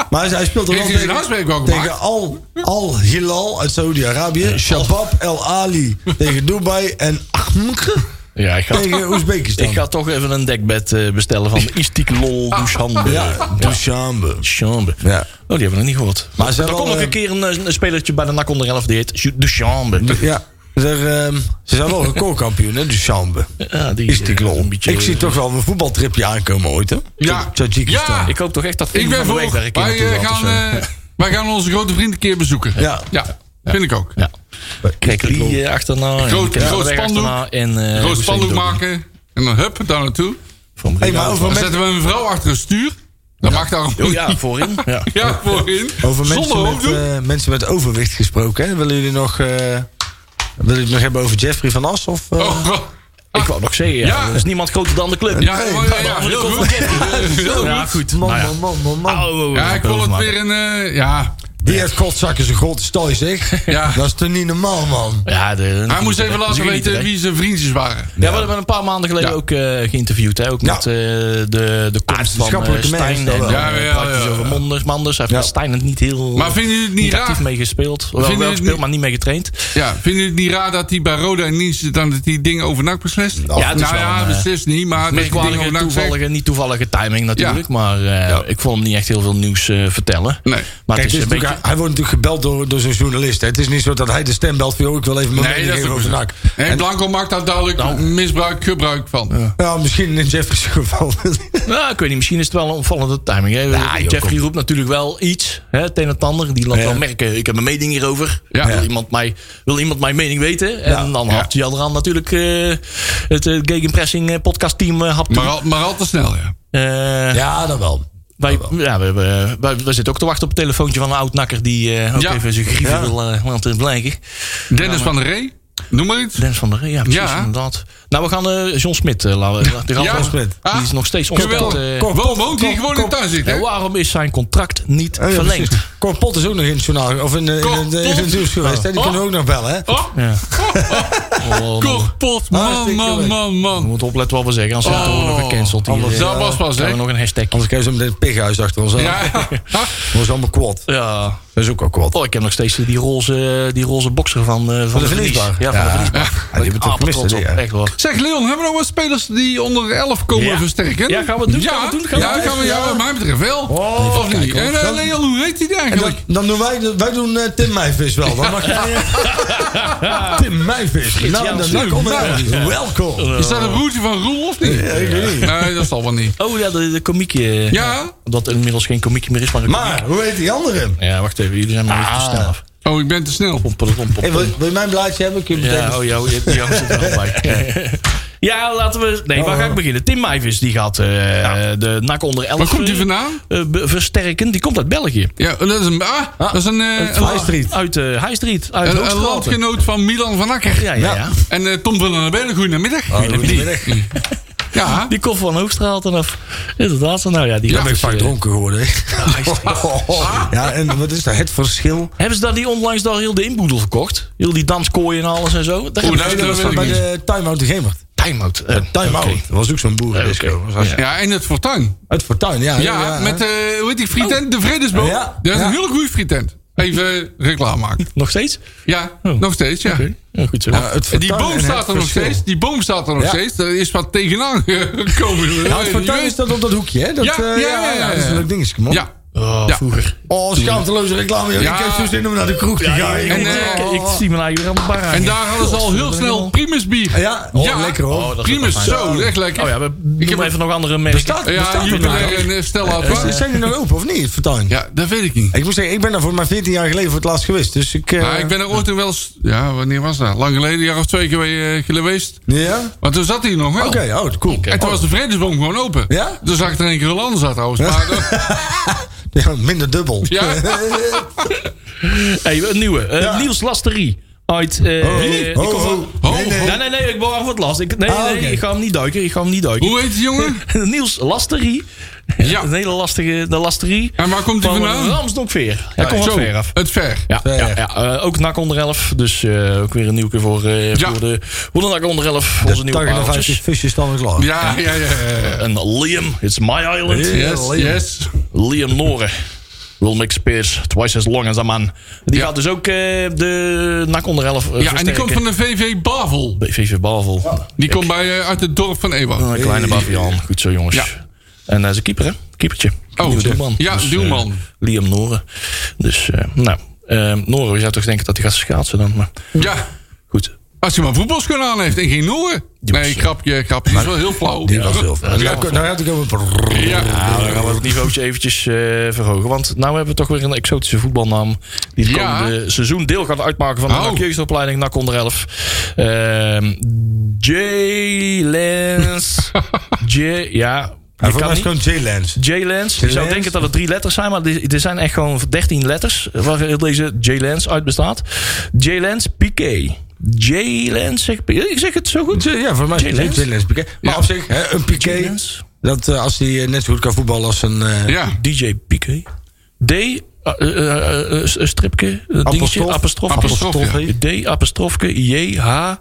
B: maar hij, hij speelt er wel
F: Heeft hij zijn
B: tegen,
F: huiswerk wel gemaakt?
B: tegen Al, Al Hilal uit Saudi-Arabië. Shabab El Ali tegen Dubai. En Ahmad
E: ja ik, ga,
B: tegen Oezbekistan.
E: ik ga toch even een dekbed eh, bestellen van Istiklol Dushanbe.
B: ja, Dushanbe.
E: Chambre.
B: Ja.
E: Oh, die hebben we nog niet gehoord.
B: Maar ze
E: er
B: hebben
E: komt nog
B: al,
E: een
B: eh,
E: keer een, eh, een spelertje bij de NAC onder 11 die heet Duchambe.
B: Ja. Er, ehm, ze zijn wel recordkampioen, hè, Dushanbe.
E: Ja, die
B: Is die
E: eh,
B: lol.
E: een beetje-
B: Ik zie toch wel een voetbaltripje aankomen ooit, hè?
F: Ja.
B: Tajikistan.
F: Ja.
E: Ik hoop toch echt dat
F: Ik
E: Finn
F: ben
E: van de
F: voor.
E: Week daar een keer
F: Wij,
E: naartoe
F: eh,
E: dus, gaat of
F: gaan,
E: zo.
F: eh, wij gaan onze grote vriend een keer bezoeken.
B: Ja.
F: ja. Vind ik ook.
E: Ja. Kijk, Lee eh, achterna. en
F: Groot-
E: Kevin
F: groot
E: Verweg
F: spandoek.
E: achterna En, eh,
F: Groot
E: Hussein
F: spandoek
E: Doan.
F: maken. En dan hup, daar naartoe.
E: Van
B: Hey,
E: Breda.
B: maar over
F: Dan
B: mensen-
F: zetten we een vrouw achter het stuur. Dat mag daar ook
E: Oh, ja, voorin. Ja.
F: Ja, voorin.
B: Over
F: Zonder
B: mensen met,
F: hoofddoek.
B: eh, mensen met overwicht gesproken. Hè? Willen jullie nog, eh willen jullie het nog hebben over Jeffrey van As? Of, eh?
F: Oh, god.
E: Ik wou nog zeggen, ja,
F: Ja.
E: er is niemand groter dan de club.
F: Ja, oh, ja, ja,
E: Behalve de
F: heel
E: kop
F: goed.
E: van Jeffrey.
F: Heel
E: Ja,
F: goed.
E: goed.
B: Man,
E: Nou ja.
B: man, man, man, man.
E: Au, au, au,
F: Ja, ik wil het
E: overmaken.
F: weer een... eh, ja,
B: Die heeft godzakken zijn grote stal, zeg.
F: Ja.
B: Dat is toch niet normaal, man?
E: Ja, de,
F: Hij moest even laten weten wie zijn vriendjes waren.
E: Ja, we hebben hem een paar maanden geleden
F: Ja.
E: ook eh, geïnterviewd. Hè? Ook
B: Ja.
E: met eh, de, de komst van eh,
B: wetenschappelijke
E: Stijn
B: mens,
E: en
B: dat wel.
F: Ja, ja, ja,
E: praktisch
F: ja.
E: over Manders. Manders heeft
B: Ja.
E: met Stijn het niet heel
F: Maar vinden jullie het niet raar?
E: actief mee gespeeld. Wel,
F: Vinden
E: wel
F: jullie het
E: gespeeld,
F: niet-
E: maar niet mee getraind.
F: Ja, vind je het niet raar dat hij bij Roda en Niels dan dat die dingen over NAC beslist?
E: Ja, het is
F: nou
E: wel
F: ja,
E: een, eh,
F: beslist niet, maar dat die dingen
E: Merkwaardige,
F: over NAC zegt.
E: toevallige, niet toevallige timing natuurlijk.
F: Ja.
E: Maar eh, ik vond hem niet echt heel veel nieuws eh, vertellen.
F: Nee.
E: Maar
B: Kijk, dus
E: het is een beetje...
B: natuurlijk- Hij wordt natuurlijk gebeld door, door zo'n journalist. hè. Het is niet zo dat hij de stem belt van... joh, ik wil even mijn
F: Nee,
B: mening
F: dat is
B: geven
F: ook
B: over
F: zo.
B: NAC.
F: En Blanco maakt daar duidelijk
E: Nou.
F: misbruik, gebruik van.
B: Ja, misschien in Jeffrey's geval.
E: Nou, ik weet niet, misschien is het wel een opvallende timing. Hè? Jeffrey roept natuurlijk wel iets, hè, het een en het ander. Die laat
B: Nou, Ja.
E: wel merken, ik heb een mening hierover.
F: Ja.
E: Wil, iemand mij, wil iemand mijn mening weten? En dan hapt hij al aan natuurlijk eh, het eh, Gegenpressing eh, podcastteam eh, hapt
F: Maar,
E: toe.
F: al, maar al te snel, ja.
E: Eh,
B: ja, dat wel.
E: wij, ja, we, hebben- wij, wij zitten ook te wachten op een telefoontje van een oud-nakker... die eh, ook
F: Ja.
E: even zijn grieven wil eh, laten blijken.
F: Dennis van der Ree, noem maar iets.
E: Dennis van der Rey, ja, precies,
F: Ja.
E: inderdaad. Nou, we gaan eh, John Smit eh, laten we- die gaan
F: Ja.
E: we-
B: Smit.
E: Die is nog steeds
F: Geweldig.
E: ontzettend... eh,
B: Kort,
F: Waarom woont hij
B: kort,
F: gewoon in
B: kort.
F: thuis zit, hè?
E: en waarom is zijn contract niet
B: Oh, Ja, ja,
E: verlengd?
B: precies. Cor Pot is ook nog in het journaal. Of in, de- in,
F: Cor
B: de- in het
F: Pot?
B: nieuws geweest. hè. Die
F: Oh.
B: kunnen we ook nog bellen, hè?
F: Oh,
E: Ja.
F: korpot, man,
B: Hartstikke
F: man,
B: leuk.
F: man,
E: Oh, nou, We
F: man.
E: moeten opletten wat we zeggen, anders
F: Oh.
E: wordt het nog gecanceld. hier.
F: Anders- dat
E: Ja.
F: was pas, hè?
E: Hebben we nog een hashtag.
B: Anders krijgen ze meteen een pighuis achter ons aan.
F: Ja, ja.
B: Dat is allemaal kwad.
E: Ja.
B: Dat is ook al kwad.
E: Oh, ik heb nog steeds die roze, die roze boxer van, eh, van,
B: Van de
E: Vries.
B: verliesbaar.
E: Ja, van de verlies.
B: Ja, die hebben we toch
E: Ah,
B: gemist,
E: trots
B: hè,
E: op,
B: ja.
E: echt hoor.
F: Zeg Leon, hebben we nog wat spelers die onder de 11 komen
E: Ja.
F: versterken?
E: Ja, gaan we het doen,
F: Ja,
E: gaan we het doen, gaan we
F: ja,
E: het doen.
F: gaan we, ja, wat mij betreft wel.
B: Oh.
F: of niet? En, eh, Leon, hoe heet hij die
B: En dan,
F: eigenlijk?
B: dan doen wij, de- wij doen eh, Tim Meijvis wel. Dan mag jij, Tim Meijvis. Nou, dan, dan kom ik wel. Welkom.
F: Is dat een broertje van Roel of niet?
B: ik weet niet.
F: Nee, dat zal wel niet.
E: Oh ja, de, de komiekje.
F: Ja?
E: Dat er inmiddels geen komiekje meer is, maar een
B: Maar, Ah. hoe heet die andere?
E: komiek. Ja, wacht even, jullie zijn maar even te snel af.
F: Oh, ik ben te snel.
E: Pom, pom, pom, pom.
B: Hey, wil, wil je mijn blaadje hebben? Kun je meteen...
E: Ja, oh, jou, jou, jou zit er wel bij. Ja, Oh. laten we... Nee, waar ga ik beginnen? Tim Mijvis, die gaat eh, de nak onder 11
F: Waar komt die
E: eh,
F: vandaan?
E: eh, be- versterken. Die komt uit België.
F: Ja, dat is een... Ah, dat is een... eh, een-
B: High Street.
E: Uit eh High Street. Uit
F: Een, een
E: Hoogstraten.
F: landgenoot van Milan van Akker.
E: Ja, ja, ja.
B: Ja.
F: En eh, Tom van den Bellen, goedemiddag.
B: Ah. goedemiddag.
F: Die. Ja,
E: Die komt van Hoogstraat en af. Inderdaad, nou ja, die
F: Ja,
E: gaat
B: ben
E: dus,
B: ik vaak
E: eh,
B: dronken geworden. Ja, en wat is dat? Het verschil?
E: Hebben ze daar die onlangs daar heel de inboedel verkocht? Heel die danskooi en alles en zo? Daar
F: Oeh,
E: hebben ze
F: nee,
E: heel veel
F: dat weet
E: van
B: Bij
F: ik niet.
B: de Time Out de Gemert.
E: time-out. Eh,
B: Time Out.
E: oké.
B: Dat was ook zo'n boerendisco.
E: Oké.
B: Was als-
E: Ja.
F: ja en het fortuin.
B: Het fortuin, ja. Oh.
F: Ja, met, eh hoe heet die frietent? De Vredesboom.
B: Ja,
F: Dat is
B: ja.
F: een hele goede frietent. Even eh, reclame maken.
E: Nog steeds?
F: Ja,
E: Oh.
F: nog steeds, ja.
E: Oké. Ja, goed zo.
B: Ja, het
F: En die
B: fortuin
F: boom
B: en
F: staat
B: het
F: er nog
B: verschil.
F: steeds. Die boom staat er nog
B: Ja.
F: steeds. Er is wat tegenaan gekomen.
B: Ja, het fortuin is dat op dat hoekje, hè? Dat,
F: Ja,
B: eh,
F: ja, ja, ja,
B: Dat is een
F: ja.
B: leuk dingetje, man.
F: Ja.
E: Oh,
F: ja.
E: vroeger.
B: Oh, schaamteloze reclame. joh.
F: Ja.
B: Ik heb zo zin om naar de kroeg te gaan.
E: ik,
F: en, eh,
E: ik, ik zie me nou hier aan de bar
F: En
E: hangen.
F: daar hadden ze al heel snel Primus bier.
B: Ja, oh, lekker, hoor.
E: Oh, dat is
F: Primus,
E: wel fijn.
F: zo, echt lekker.
E: Oh ja, we ik heb
F: heb-
E: even nog andere merken.
B: Bestaat-
F: Ja,
B: bestaat het nou?
F: Jupiler en eh, Stella Artois.
B: Is- Zijn die nog open of niet, het fortuin?
F: Ja, dat weet ik niet.
B: Ik moet zeggen, ik ben daar voor maar 14 jaar geleden voor het laatst geweest. Dus ik... eh,
F: Ja, ik ben er ooit wel eens... Ja, wanneer was dat? Lang geleden, een jaar of twee keer eh, geweest.
B: Ja?
F: Maar toen zat hij nog wel.
B: Oké, oh, cool.
F: En toen was de vredesboom gewoon open.
B: Ja?
F: Dus zag ik er een keer een zat trouwens. Maar, eh,
B: Oh, Ja, minder dubbel. Oh,
F: ja,
E: Hey, een nieuwe. Eh,
B: Ja.
E: Niels Lasterie. Uit... eh, eh, die
B: Ho,
E: komt van-
B: ho.
F: Ho,
B: Nee, nee.
F: ho.
E: Nee, nee, nee, ik wou af wat last. Ik, nee,
B: Ah,
E: nee,
B: oké.
E: ik ga hem niet duiken. Ik ga hem niet duiken.
F: Hoe heet die jongen?
E: Niels Lasterie.
F: Ja.
E: Een hele lastige de Lasterie.
F: En waar komt die vandaan?
E: Ramsdokveer. Hij komt
F: Zo,
E: van Veer af.
F: Het ver.
E: Ja,
B: Ver.
E: ja, ja. Eh, ook NAC onder 11. Dus eh, ook weer een nieuwke voor, eh,
F: Ja.
E: voor, de, voor de NAC onder 11. Onze nieuwe
B: 50
E: paaltjes.
B: visjes dan weer klaar.
F: Ja, ja, ja. ja.
E: En Liam, it's my island.
F: Yes, yes.
E: Liam Noren. Will make spears twice as long as a man. Die
F: Ja.
E: gaat dus ook eh, de NAC onder 11 eh,
F: Ja, en die
E: versterken.
F: komt van de VV Bavel.
E: VV Bavel.
F: Die komt bij, eh, uit het dorp van
B: Oh,
F: Ewa.
E: Een kleine baviaan. Goed zo, jongens.
F: Ja.
E: En hij is een keeper, hè? Keepertje.
F: Oh,
E: Nieuwe
F: zo. Ja,
E: eh,
F: doelman.
E: Liam Noren. Dus, eh, nou. eh, Noren, je zou toch denken dat hij gaat schaatsen dan. Maar
F: Ja,
E: goed.
F: als hij maar voetbalschoenen aan heeft en geen Noren. Nee, grapje, grapje. Dat is wel heel flauw.
B: Die was heel veel. Ja, Nou had ik over...
F: Ja,
E: Nou, dan gaan we het niveautje eventjes eh, verhogen. Want nu hebben we toch weer een exotische voetbalnaam. Die het
F: Ja.
E: komende seizoen deel gaat uitmaken van de
F: Oh.
E: NAC jeugdopleiding NAC onder 11. Ehm J-Lens. J... Ja,
B: En
E: ik
B: voor mij
E: kan
B: is
E: niet.
B: gewoon J-Lens.
E: J-Lens. Je zou
B: J-Lens.
E: denken dat het drie letters zijn, maar dit- er zijn echt gewoon 13 letters waar heel deze J-Lens uit bestaat. J-Lens, Piqué. J-Lens, zeg ik- ik zeg het zo goed.
B: Ja, voor mij is
E: J-Lens?
B: J-Lens. Piqué. Maar op zich, hè, een Piqué...
E: J-Lens.
B: Dat eh, als hij eh, net zo goed kan voetballen als een... eh,
F: ja.
E: DJ Piqué. D. eh, eh, eh, eh, stripje, eh, dingetje, apostrof,
F: Apostrofje.
E: D, apostrofje, J, H,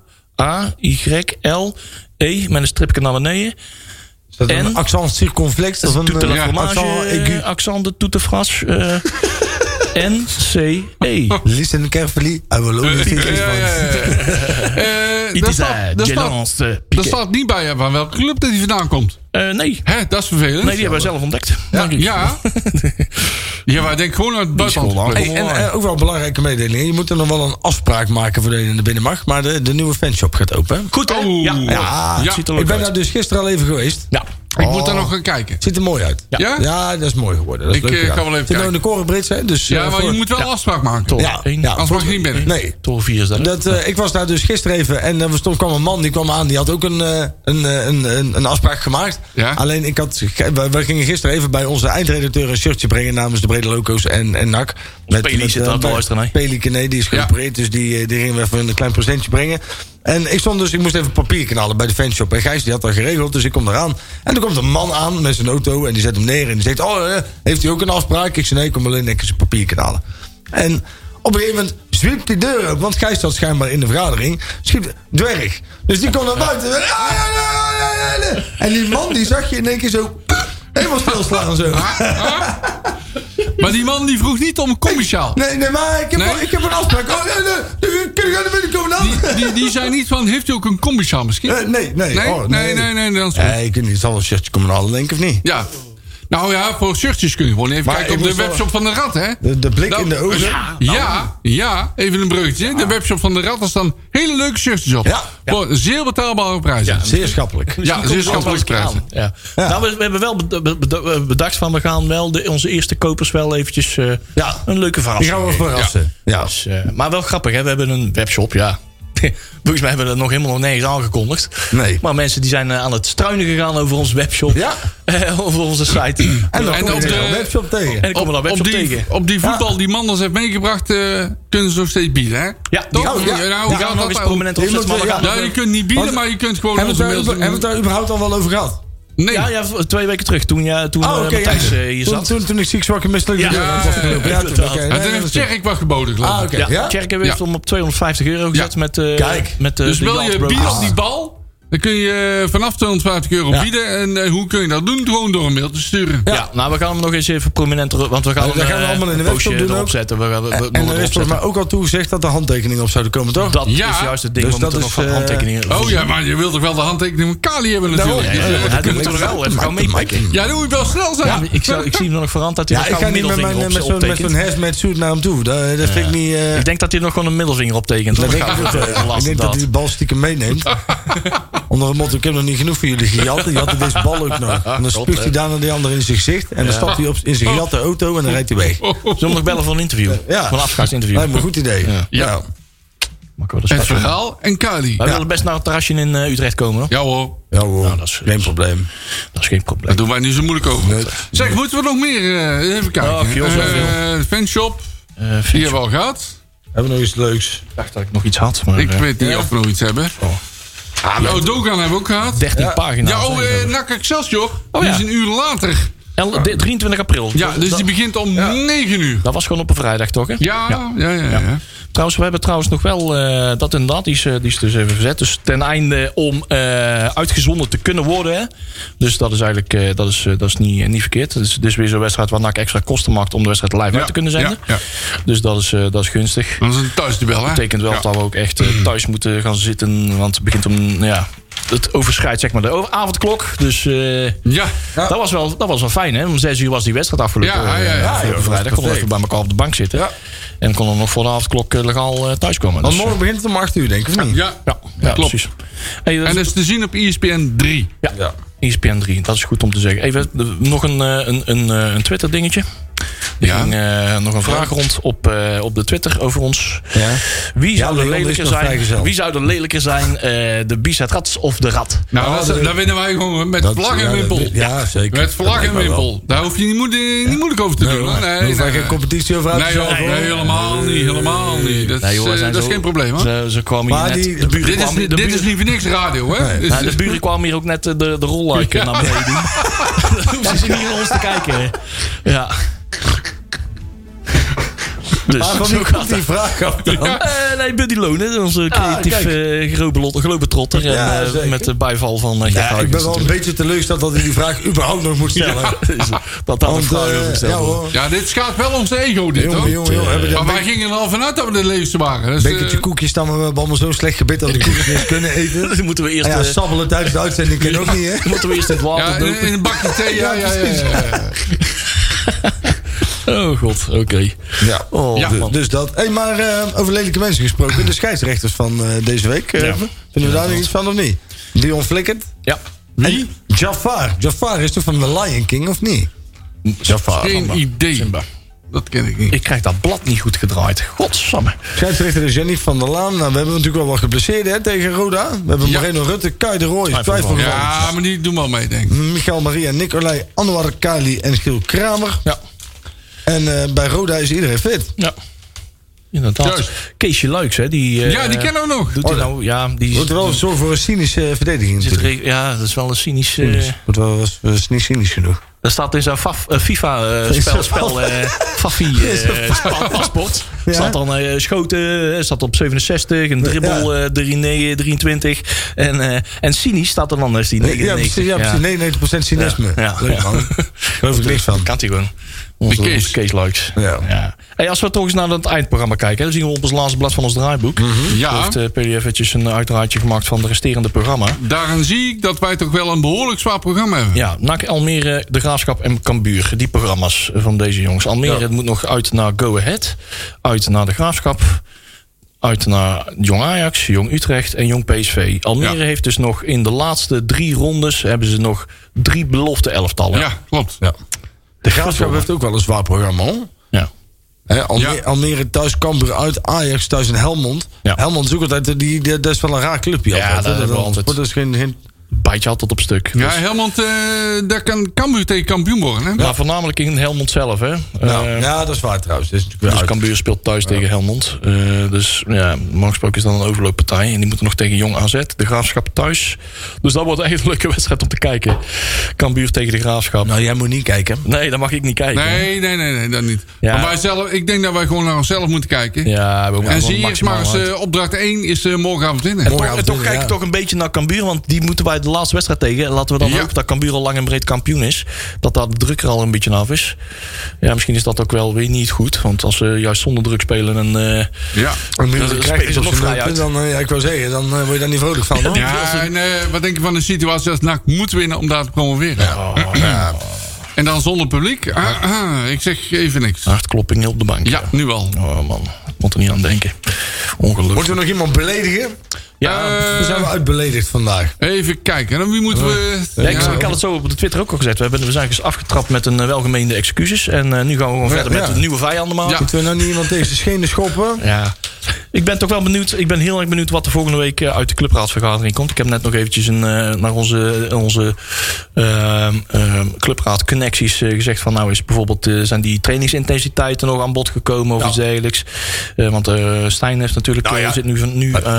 E: A, Y, L, E, met een stripje naar beneden.
B: Is dat een
E: En?
B: accent circonflex of een
E: Toete
B: eh,
E: la
F: ja,
E: fromage,
B: accent aigu?
E: eh, accent de toete frans. eh, N, C, E.
B: Listen carefully, I will only
F: Eh,
B: think
F: ja, ja, ja, ja. Eh,
E: It
F: daar
E: is a
F: staat- daar staat-
E: Gelance, eh,
F: daar
E: piquet.
F: staat niet bij hè, van welke club dat hij vandaan komt.
E: Eh, Nee,
F: Hè, dat is vervelend.
E: Nee, die hebben wij zelf ontdekt. denk ik.
F: Ja. ja, wij denken gewoon aan het
E: school
F: buitenland.
E: aan.
B: Hey, en eh, ook wel een belangrijke mededeling. Je moet er nog wel een afspraak maken voor de ene naar binnen mag. Maar de, de nieuwe fanshop gaat open. hè?
E: Goed, hè?
F: Oh.
E: Ja, ja.
F: Ja.
E: het ziet er leuk
B: Ik ben
E: uit.
B: daar dus gisteren al even geweest.
E: Ja.
F: Ik moet daar nog gaan kijken.
B: Ziet er mooi uit.
F: Ja?
B: Ja, dat is mooi geworden. Dat is
F: Ik,
B: leuk
F: eh,
B: gedaan.
F: ga wel even
B: Zit nou in de korenbrits, hè? Dus,
F: Ja,
B: eh,
F: maar je
B: voor-
F: moet wel afspraak maken.
E: Tol.
B: Ja,
E: Eén.
B: ja.
F: Anders mag je niet binnen.
B: Nee.
E: Tol 4 is dat.
B: Dat, eh, ik was daar dus gisteren even en er stond, kwam een man die kwam aan. Die had ook een, eh, een, eh, een, een, een afspraak gemaakt.
F: Ja.
B: Alleen ik had, ge- we, we gingen gisteren even bij onze eindredacteur een shirtje brengen namens de Brede Loco's en, en NAC.
E: Peli zit
B: eh,
E: aan te
B: bij-
E: luisteren, hè?
B: Pelican, nee, die is
F: Ja.
B: geopereerd. Dus die, eh, die gingen we even een klein procentje brengen. En ik stond dus, ik moest even papier knallen bij de fanshop. En Gijs die had dat geregeld, dus ik kom eraan. En er komt een man aan met zijn auto en die zet hem neer. En die zegt, oh, eh, heeft u ook een afspraak? Ik zei, nee, ik kom alleen netjes papier knallen. En op een gegeven moment zwiept die deur op. Want Gijs zat schijnbaar in de vergadering. Schiet, dwerg. Dus die komt naar buiten. En, "Ah, ja, ja, ja, ja, ja." en die man, die zag je in één keer zo... Helemaal stilslaan zo.
F: Maar die man die vroeg niet om een commissaal.
B: Nee, nee, maar ik heb,
F: Nee?
B: ik heb een afspraak. Oh, nee, nee. Kun je naar binnen komen dan?
F: Die, die, die zei niet van, heeft u ook een commissaal misschien?
B: Eh, nee, nee.
F: Nee?
B: oh,
F: Nee, nee, nee, dan is het goed.
B: Nee, ik weet niet. Het zal wel een shirtje komen halen, denk ik, of niet?
F: Ja. Nou ja, voor shirtjes kun je gewoon even
B: Maar
F: kijken
B: ik
F: op de
B: moet wel-
F: webshop van de Rad, hè?
B: De, de blik
F: Nou,
B: in de ogen.
F: Ja, ja, ja, even een bruggetje. De webshop van de Rad, daar staan hele leuke shirtjes op.
B: Ja.
F: Voor zeer betaalbare prijzen. Ja,
B: Zeer schappelijk.
F: ja zeer schappelijke prijzen.
E: Ja.
B: Ja.
E: Nou, we, we hebben wel bed- bed- bed- bedacht van we gaan wel de, onze eerste kopers wel eventjes eh,
B: Ja.
E: een leuke verhaal.
B: Die gaan we verrassen. Ja.
E: Dus, eh, maar wel grappig, hè? we hebben een webshop, ja. Volgens mij hebben we dat nog helemaal nog nergens aangekondigd.
B: Nee.
E: Maar mensen die zijn eh, aan het struinen gegaan over ons webshop.
B: Ja.
E: Eh, over onze site.
B: En dan
F: En
B: kom
F: op
B: je
F: de-
B: de webshop tegen.
E: en ik kom er dan
F: op
E: webshop
F: die,
E: tegen.
B: Oh,
F: Op die voetbal die Manders heeft meegebracht, eh, kunnen ze nog steeds bieden, hè?
E: Ja, die
F: Toch?
E: gaan we-
B: ja,
F: nou,
E: Die
F: hoe
E: gaan we
F: gaat
E: nog eens
F: dat nou?
E: prominent
B: oh, Die
E: opzetten. Maar
B: moeten-
E: we gaan
B: ja.
E: nog
F: Ja, je
E: even-
F: kunt niet bieden, maar je kunt gewoon
B: Hebben
F: onze
B: we het
F: mails...
B: daar über- hebben we het daar überhaupt al wel over gehad?
F: Nee.
E: Ja, ja, v- twee weken terug. Toen, ja, toen eh,
B: Oh, oké,
E: Matthijs eh, hier
B: toen,
E: zat.
B: toen, toen ik ziek, zwak en misselijk
E: Ja.
B: was.
E: Ja,
B: was het ook.
E: ja,
B: toen,
E: inderdaad.
B: oké,
E: En
B: nee,
F: en toen
B: dat
F: heeft
B: is het.
F: Tjerk wat geboden, geloof ik.
B: Ah, oké.
E: Ja,
B: Ja?
E: Tjerken heeft
F: Ja.
E: hem op 250 euro gezet met, eh
B: Kijk.
E: met eh,
F: Dus
E: de
F: wil
E: Jans
F: je
E: Brothers.
F: bieden op die bal? Dan kun je eh, vanaf 250 euro
B: Ja.
F: bieden. En eh, hoe kun je dat doen? Gewoon door een mail te sturen.
E: Ja. nou we gaan hem nog eens even prominenter, want we gaan
B: Ja,
E: hem
B: dat gaan we
E: eh,
B: allemaal in de
E: een postje
B: webshop doen
E: erop
B: ook.
E: zetten. We gaan we, we,
B: En er is
E: erop
B: volgens
E: zetten.
B: mij ook al toegezegd dat er handtekeningen op zouden komen, toch?
E: Dat
F: Ja.
E: is juist het ding,
B: Dus
E: we moeten
B: dat
E: nog wat
B: is, eh,
E: handtekeningen.
F: Oh ja, maar je wilt toch wel de handtekening van Kali hebben natuurlijk.
E: Ja,
F: Ja,
E: ja,
F: ja.
E: ja, die moeten we wel even gaan meepikken.
F: dan moet je wel snel zijn.
E: Ik, zou- ik zie hem nog veranderd dat hij
B: Ja,
E: nog
B: ik ga
E: een
B: niet met, mijn,
E: middelvinger
B: met
E: op,
B: zo'n met zo'n
E: optekent.
B: hazmat suit naar hem toe. Dat, dat vind ik niet... eh,
E: Ik denk dat hij nog gewoon een middelvinger optekent.
B: dat
E: Dat
B: denk ik,
E: gaat
B: ook, eh,
E: wel
B: ik
E: lastig
B: denk dat hij
E: dat.
B: de bal stiekem meeneemt. Onder het motto, ik heb nog niet genoeg voor jullie gejatten. Je had deze bal ook nog. En dan spuugt hij daarna die ander in zijn gezicht. En dan stapt hij op, in zijn gejatte auto en dan rijdt hij weg.
E: Zullen we nog bellen voor een interview?
B: Ja.
E: Voor een afscheidsinterview.
B: Lijkt me een goed idee. Ja.
E: Mag ik wel de
F: Het
E: start doen?
F: verhaal en Kali.
E: Wij willen best naar het terrasje in eh, Utrecht komen. hoor.
F: Ja hoor,
B: Ja hoor,
E: Nou, dat is-
B: geen probleem.
E: Dat is geen probleem.
F: dat doen wij niet zo moeilijk over.
B: Nee.
F: Zeg, moeten we nog meer? eh, even kijken.
E: Ach, joh, zoveel.
F: Eh, fanshop,
E: Eh, vind
F: die
E: je-
F: hebben we al gehad.
B: Hebben we nog iets leuks?
E: Ik dacht dat ik nog iets had, maar
F: Ik
E: eh,
F: weet niet of we nog iets hebben.
E: Oh.
F: Ja, Dogan hebben we ook gehad.
E: 13 Ah, pagina's.
F: Ja, oh,
E: hè,
F: eh
E: zo.
F: NAC Excelsior.
E: Oh,
F: Die
E: ja.
F: is een uur later.
E: El- de- 23 april.
F: Ja, dus
E: Dat-
F: die begint om 9 uur.
E: Dat was gewoon op een vrijdag, toch? Hè?
F: Ja, ja, ja. ja, ja.
E: Trouwens, we hebben trouwens nog wel eh, dat en dat. Die is, eh, die is dus even verzet. Dus ten einde om eh, uitgezonden te kunnen worden. Hè? Dus dat is eigenlijk eh, dat is, eh, dat is niet, eh, niet verkeerd. Dus dit is weer zo'n wedstrijd waar NAC extra kosten maakt om de wedstrijd live uit te kunnen
F: ja,
E: zenden.
F: ja.
E: Dus dat is, eh, dat is gunstig.
F: Dat is een thuisduel, hè?
E: betekent wel
F: Ja.
E: dat we ook echt eh, thuis moeten gaan zitten. Want het begint om. Ja, het overschrijdt zeg maar de over- avondklok. Dus eh,
F: Ja,
E: dat, was wel, dat was wel fijn. Hè? Om zes uur was die wedstrijd afgelopen.
F: Ja, ja, ja, ja.
E: eh, afgelopen
B: Ja, joh,
E: vrijdag konden we even bij elkaar op de bank zitten. En konden we nog voor de avondklok eh, legaal eh, thuiskomen.
B: Want
E: Dus, eh,
B: morgen begint het om 8 uur, denk ik, of niet?
F: ja.
E: ja, ja,
F: klopt.
E: precies. Hey, dat
F: En dus-
E: is-
F: dat
E: E
F: is te zien op E ESPN 3.
E: ja,
B: Ja.
E: ESPN 3, dat is goed om te zeggen. Even eh, nog een, eh, een, een, eh, een Twitter dingetje. Er
F: Ja.
E: ging eh, nog een vraag rond op, eh, op de Twitter over ons.
B: Ja.
E: Wie zou de
B: Leon is
E: lelijker
B: nog
E: zijn?
B: vrijgezel.
E: Wie zou de lelijker zijn? eh, de Bizet Rats of de Rat?
F: Nou,
B: Ja,
F: dat,
B: dat-
F: dat winnen wij gewoon met
B: Dat-
F: vlag
B: ja,
F: en
B: dat-
F: wimpel.
B: Ja, zeker.
F: Met vlag en wimpel. Daar hoef je niet, moe- niet moeilijk over te doen. hoor. Nee,
B: Nee,
F: nee,
B: hoef daar
F: nee.
B: geen competitie over uit te
F: Nee, joh,
B: zorgen,
F: nee,
B: hoor.
F: helemaal niet. Helemaal niet. Dat,
E: Nee,
F: is,
E: joh,
F: eh,
E: wij zijn
F: dat is
E: zo-
F: geen probleem, hoor.
E: Ze, ze kwamen
B: Maar
E: hier net.
B: die-
E: de buren
F: Dit, is,
E: kwamen,
F: niet-
E: de
F: dit
E: buren-
F: is niet voor niks radio, hè? Dit is-
E: Nou, de buren kwamen hier ook net eh, de, de rolluik eh, naar beneden. Dan hoeven ze niet naar ons te kijken. Ja. Dus
B: Maar van
E: zo
B: wie
E: gaat
B: komt die vraag af dan? Ah,
E: Eh, nee, Buddy Lonen, onze creatief eh globelot- globetrotter. en,
B: Ja,
E: eh,
B: zeker.
E: met de bijval van eh, Gert
B: Ja, ik
E: Huygens
B: ben wel een
E: natuurlijk.
B: beetje teleurgesteld dat hij die vraag überhaupt nog moet stellen.
E: Dus, wat daar een
B: Want,
E: vraag
B: eh,
E: over
B: ja
E: gesteld wordt.
B: hoor,
F: Ja, dit schaadt wel ons ego, dit
B: Jongen,
F: hoor.
B: jongen, jongen, hebben die
F: maar
B: een
F: wij gingen er al vanuit dat we de leefste waren. Dus,
B: bekertje
F: eh,
B: koekjes staan we hebben allemaal zo'n slecht gebit dat we de koekjes niet eens kunnen eten.
E: Dan moeten we eerst,
B: Ah ja,
E: eh,
B: sabbelen tijdens de uitzending kan ook niet, hè?
E: dan moeten we eerst het water
F: ja, in,
E: dopen.
F: in een bakje thee, ja, ja, ja. ja, ja.
E: Oh god, oké.
B: Ja.
E: Oh,
F: Ja.
E: man.
B: Dus dat. Hey, maar eh, over lelijke mensen gesproken. De scheidsrechters van eh, deze week. eh,
E: Ja.
B: Vinden we daar nog iets van of niet? Dion Flikkert.
E: Ja.
B: Wie? Jafar. Jafar is toch van The Lion King of niet?
E: Jafar.
F: Geen idee. Dat ken ik niet.
E: Ik krijg dat blad niet goed gedraaid. Godsamme.
B: Scheidsrechter is Jenny van der Laan. Nou, we hebben natuurlijk wel wat geblesseerden hè, tegen Roda. We hebben
F: Ja.
B: Moreno Rutte, Kai de Roy,
E: Twijfelgeval.
B: Twijfelgeval.
F: Ja, maar die doen wel mee, denk ik.
B: Michael Maria, Nicolai, Anwar Kali en Giel Kramer.
E: Ja.
B: En eh, bij Roda is iedereen fit.
E: Ja. Inderdaad.
F: Juist.
E: Keesje Luiks, hè. Die, eh,
F: Ja, die kennen we nog.
E: Doet hij nou... Ja, die
B: Oh, Wordt wel zo voor een cynische eh, verdediging.
E: zit
B: natuurlijk.
E: er- ja, dat is wel een cynisch... eh,
B: Wordt wel was, was niet cynisch genoeg.
E: dat staat in zijn faf, eh, FIFA eh,
B: In
E: spel,
B: zijn
E: spel eh, Fafi eh, spa- paspoort.
B: Ja.
E: Staat dan eh, schoten, eh, staat op 67, een dribbel eh, 3, 23. En, eh, en cynisch staat er dan als die
B: Ja,
E: 99.
B: precies. Ja, precies. 99% cynisme.
E: Ja. Ja.
B: Leuk man. Geloof ik niks van.
E: Kan hij gewoon. Onze,
F: Kees.
E: onze Kees Luiks.
B: Ja.
E: Hey, als we toch eens naar het eindprogramma kijken, dan zien we op ons laatste blad van ons draaiboek.
F: Ja.
E: Heeft eh, PDF eventjes een uitdraadje gemaakt van de resterende programma.
F: Daarin zie ik dat wij toch wel een behoorlijk zwaar programma hebben.
E: Ja, NAC, Almere, De Graafschap en Cambuur. Die programma's van deze jongens. Almere moet nog uit naar Go Ahead. Uit naar De Graafschap. Uit naar Jong Ajax, Jong Utrecht en Jong PSV. Almere
F: Ja.
E: heeft dus nog in de laatste drie rondes... hebben ze nog drie belofte elftallen.
F: Ja, klopt.
B: De Graafschap heeft ook wel een zwaar programma hoor.
E: Ja.
B: Hè, Almere,
F: Ja.
B: Almere thuis, Cambuur uit, Ajax thuis en Helmond.
E: Ja.
B: Helmond is ook altijd, eh, die, die- dat is wel een raar
E: Ja,
B: clubje. altijd, hè.
E: dat hebben we altijd.
B: Dat is geen, geen-
E: Bijtje altijd op stuk.
F: Ja,
E: Dus-
F: Helmond, eh, daar kan Cambuur tegen kampioen worden. Hè?
E: Maar voornamelijk in Helmond zelf, hè?
B: nou,
E: Eh,
B: ja, dat is waar trouwens. Dat is natuurlijk
E: Dus
B: wel uit.
E: Cambuur speelt thuis tegen Helmond. Eh, dus ja, normaal gesproken is dan een overlooppartij. En die moeten nog tegen Jong AZ, de Graafschap thuis. Dus dat wordt een hele leuke wedstrijd om te kijken. Cambuur tegen de Graafschap.
B: Nou, jij moet niet kijken.
E: Nee, dat mag ik niet kijken.
F: Nee, nee, nee, nee, dat niet.
E: Ja.
F: Maar wij zelf, ik denk dat wij gewoon naar onszelf moeten kijken.
E: Ja, we moeten
F: en
E: gewoon
F: zie eerst
E: maximaal
F: maar eens,
E: uit.
F: eh, opdracht 1 is eh, morgenavond winnen.
E: En toch- en toch
B: ja.
E: kijk ik toch een beetje naar Cambuur, want die moeten wij de laatste wedstrijd tegen. En Laten we dan
F: Ja.
E: hopen dat Cambuur al lang en breed kampioen is. Dat daar de druk er al een beetje af is. Ja, misschien is dat ook wel weer niet goed. Want als ze juist zonder druk spelen en... eh,
F: Ja.
B: En
E: Dan
B: dan krijg
E: spelen
B: je
E: ze
B: op
E: nog
B: zijn
E: vrij
B: nulpunt,
E: uit.
B: dan, eh, ja, ik wou zeggen, dan eh, word je daar niet vrolijk van. Hoor.
F: Ja, en eh, wat denk je van een situatie als NAC moet winnen om daar te promoveren? Ja. En dan zonder publiek? Ah, ah, ik zeg even niks.
E: nou, hartkloppingen op de bank.
F: Ja, nu al.
E: Oh man, ik moet er niet aan denken. Ongelukkig.
B: Moeten we nog iemand beledigen?
E: Ja,
B: We zijn we uitbeledigd vandaag.
F: Even kijken. En wie moeten we...
E: ja, ik,
F: Ja.
E: ik had het zo op de Twitter ook al gezet. We, hebben, we zijn dus afgetrapt met een eh, welgemeende excuses. En eh, nu gaan we gewoon verder
B: ja.
E: met de nieuwe vijanden maken.
B: Moeten we nou niet iemand tegen de schenen schoppen?
E: Ja. Ik ben toch wel benieuwd. Ik ben heel erg benieuwd wat er volgende week eh, uit de clubraadsvergadering komt. Ik heb net nog eventjes een, eh, naar onze, onze ehm, ehm, clubraad connecties eh, gezegd. Van nou is bijvoorbeeld eh, zijn die trainingsintensiteiten nog aan bod gekomen of iets dergelijks. Eh, want eh, Stijn heeft natuurlijk eh, zit nu, van- nu eh,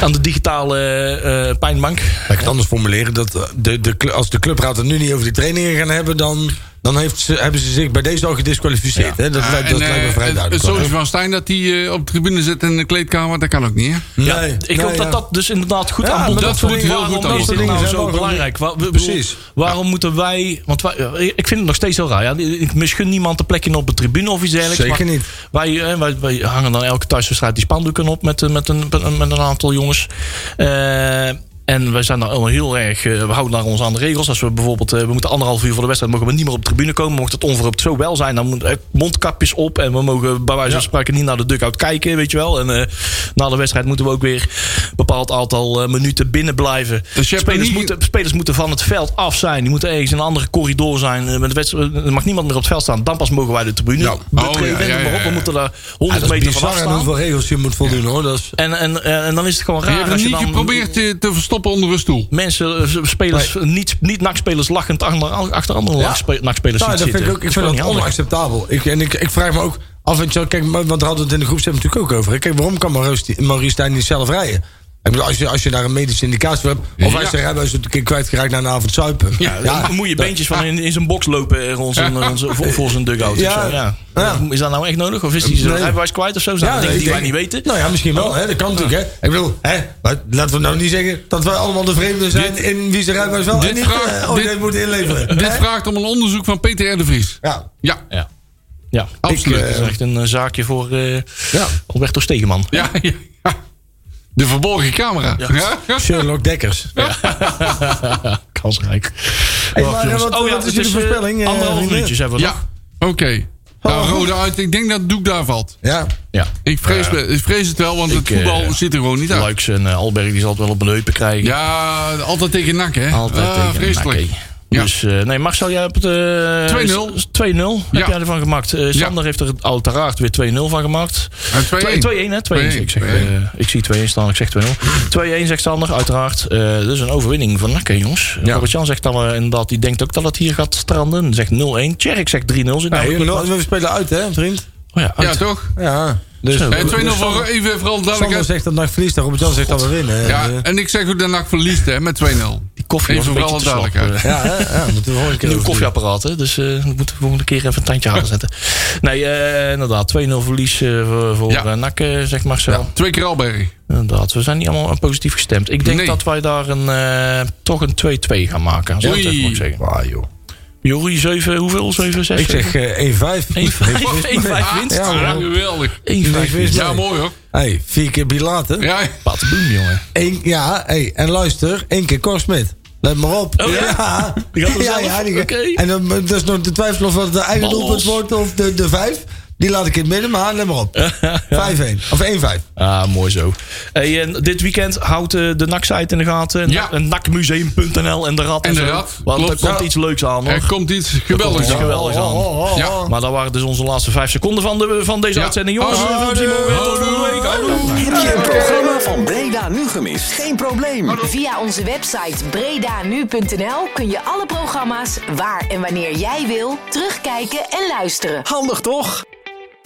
E: aan de digitale eh, pijnbank.
B: Laat ik het anders formuleren. Dat eh, de, de, cl- als de clubraad het nu niet over die trainingen gaan hebben... dan, dan heeft ze, hebben ze zich bij deze al gedisqualificeerd. Hè? Dat,
F: Ja,
B: lijkt-
F: en,
B: dat lijkt me
F: eh,
B: vrij
F: het-
B: duidelijk.
F: Het zootje van Stijn dat hij eh, op de tribune zit in de kleedkamer, dat kan ook niet, hè?
E: Ja, ik hoop dat dat dus inderdaad goed
B: Ja,
E: aan bod
B: maar
F: dat
E: komt.
F: moet heel
E: Waarom
F: goed aan bod
E: is dit
B: komen.
E: nou
B: Dingen zijn
E: zo
B: wel
E: belangrijk? Wa- we-
B: Precies.
E: bedoel, Waarom moeten wij... Want wij, ik vind het nog steeds heel raar. Ja, ik misgun niemand een plekje op de tribune of iets dergelijks.
B: Zeker
E: maar
B: niet.
E: Wij, eh, wij, wij hangen dan elke thuiswedstrijd die spandoeken op met, eh, met, een, met een- met een aantal jongens. Eh, en wij zijn daar allemaal heel erg... eh, we houden naar ons aan de regels. Als we bijvoorbeeld... eh, we moeten anderhalf uur voor de wedstrijd... mogen we niet meer op de tribune komen. Mocht het onverhoopt zo wel zijn... dan moet eh, mondkapjes op... en we mogen bij wijze van spreken niet naar de dugout kijken. Weet je wel. En eh, na de wedstrijd moeten we ook weer... een bepaald aantal eh, minuten binnen blijven.
F: Dus je hebt
E: spelers,
F: niet-
E: moeten, spelers moeten van het veld af zijn. Die moeten ergens in een andere corridor zijn. Eh, met de wedstrijd- Er mag niemand meer op het veld staan. Dan pas mogen wij de tribune
F: Nou,
E: betreden.
F: oh, ja,
E: Noem
F: ja,
E: maar
F: ja,
E: op, We
F: ja.
E: moeten daar
B: Ja, Ah,
E: 100
B: dat is
E: meter van
B: bizar aan
E: afstaan.
B: hoeveel regels je moet voldoen. hoor. Dat is,
E: En, en, eh, en, en dan is het gewoon
F: Je
E: raar
F: hebt
E: als
F: hem
E: je
F: niet
E: dan
F: geprobeerd eh, te verstoppen onder een stoel.
E: mensen, eh, spelers, niet, niet nachtspelers lachend achter, achter andere
B: Ja.
E: nachtspe- nachtspelers
B: Nou,
E: ziet
B: dat vind
E: zitten.
B: ik, ook, ik vind dat
E: gewoon niet handig.
B: onacceptabel. Ik, en ik, ik vraag me ook af en toe, kijk, maar- want daar hadden we het in de groep natuurlijk ook over. hè. Kijk, waarom kan Maurice, Maurice Stijn niet zelf rijden? Ik bedoel, als je, als je daar een medische indicatie voor hebt. Of
F: Ja.
B: als de rijbewijs een keer kwijtgeraakt na een avond zuipen.
E: Ja, dan moet je beentjes van in, in zijn box lopen eh, rond zijn, rond zijn- voor, voor zijn dugout. of
B: Ja.
E: zo, ja.
B: Ja.
E: Is dat nou echt nodig? Of is die zijn
B: Nee.
E: rijbewijs kwijt of zo? Zijn
B: Ja,
E: dat
B: nee,
E: dingen die
B: ik
E: wij niet
B: denk-
E: weten?
B: Nou ja, misschien wel. Hè? Dat kan natuurlijk. Hè? Ik bedoel, hè? maar laten we nou niet zeggen dat wij allemaal de vreemden zijn...
F: Dit-
B: in wie ze rijbewijs wel
F: dit
B: en niet
F: vraagt-
B: eh, ooit
F: dit-
B: heeft moeten inleveren.
F: Dit
B: Hè?
F: vraagt om een onderzoek van Peter R. de Vries.
B: Ja.
F: Ja,
E: Ja. Ja,
F: Absoluut.
E: Ik, eh, dat is echt een eh, zaakje voor eh
B: Nou, Ja.
E: Alberto Stegeman.
F: ja, ja. ja. De verborgen camera. Ja.
B: Sherlock Dekkers.
E: Kansrijk.
B: maar,
E: Wacht,
B: eh,
E: jongens.
B: wat-
E: oh ja,
B: wat
E: het
B: is jullie
E: is eh,
B: voorspelling, eh,
E: anderhalf
B: Riemen?
E: minuutjes hebben we nog.
F: Ja, oké.
E: Oh.
F: Nou, rode uit. Ik denk dat het doek daar valt.
B: Ja.
E: Ja.
F: Ik vrees, me- ik vrees het wel, want het
E: Ik, eh,
F: voetbal zit er gewoon niet uit.
E: Luiks en eh, Alberg die zal het wel op een heupen krijgen.
F: Ja, altijd tegen nak, hè?
E: Altijd
F: Ah,
E: tegen
F: vreselijk.
E: Nike.
F: Ja.
E: Dus eh, nee, Marcel, jij hebt het...
F: 2-0.
E: 2-0 heb
F: Ja.
E: jij ervan gemaakt. Eh, Sander heeft er uiteraard weer 2-0 van gemaakt.
F: En 2-1.
E: 2-1, hè? 2-1. Ik, zeg,
F: 2-1.
E: eh, ik zie 2-1 staan, ik zeg 2-0. 2-1 zegt Sander, uiteraard. Eh dat is een overwinning van NAC, hè, jongens.
B: Ja.
E: Robert-Jan zegt dan eh, inderdaad, die denkt ook dat het hier gaat stranden. Zegt 0-1. Tjerk zegt 3-0. Zit nou
B: Nee,
E: ook
B: we-
E: nog wat.
B: we spelen uit, hè, vriend?
E: Oh ja,
F: Ja,
E: uit.
F: toch?
B: Ja. Dus
E: Zo.
F: Eh, 2-0 voor
B: Sander-
F: even vooral
B: Sander
F: duidelijkheid.
B: zegt dat NAC verliest, dan Robert-Jan zegt dat we winnen.
F: Ja,
B: Eh,
F: en ik zeg ook dat NAC verliest, hè, met 2-0.
E: die koffie was
F: Even
E: een beetje
F: wel
E: te slap.
F: duidelijk,
E: eh.
B: ja, hè? ja, moeten we gewoon een keer
E: Nieuw
B: over doen.
E: koffieapparaat, hè? dus eh we moeten de volgende keer even een tandje harder zetten. Nee, eh, inderdaad, 2-0 verlies eh, voor, voor
F: Ja.
E: eh, NAC, eh, zegt Marcel.
F: Twee keer Alberg.
E: Inderdaad, we zijn niet allemaal eh, positief gestemd. Ik denk
F: Nee.
E: dat wij daar een, eh, toch een 2-2 gaan maken. Zou ik
F: Oei.
E: het even mag zeggen.
B: Ah, joh.
E: Jorie, 7, hoeveel? 7, 6?
B: Ik zeg eh 1-5.
E: 1-5 winst.
B: Ja,
F: Ja,
B: hoor.
F: geweldig.
E: 1-5 winst.
F: Ja, mooi hoor.
B: Hey, vier keer bilater.
F: Ja,
E: Pat boem, jongen.
B: Eén, ja, hey, en luister, één keer Korsmit. Let maar op.
E: Oh, ja? Die gaat
B: ja,
E: er zelf?
B: ja, die-
E: Oké.
B: En dan, eh, dat is nog te twijfelen of dat de eigen
E: Ballos.
B: doelpunt wordt of de, de vijf. Die laat ik in het midden, maar let maar op. 5-1. Of 1-5.
E: Ah, mooi zo. Hey, en dit weekend houdt eh, de NAC-site in de gaten.
F: Ja.
E: En NACmuseum.nl en de Rad.
F: En de
E: zo.
F: Rad,
E: Want er
F: klopt.
E: komt
F: Ja.
E: iets leuks aan, hoor.
F: er komt iets
E: Dat
F: geweldigs
E: is
F: aan.
E: geweldig aan.
F: Ja.
E: Maar dat waren dus onze laatste vijf seconden van, de, van deze
F: Ja.
E: uitzending, jongens.
F: Houdoe.
E: Veel plezier met- Tot volgende week. Houdoe.
A: Heb
H: Heb je
A: je
H: het programma van Breda nu gemist? Geen probleem.
A: Via onze website bredanu.nl kun je alle programma's waar en wanneer jij wil terugkijken en luisteren.
H: Handig toch?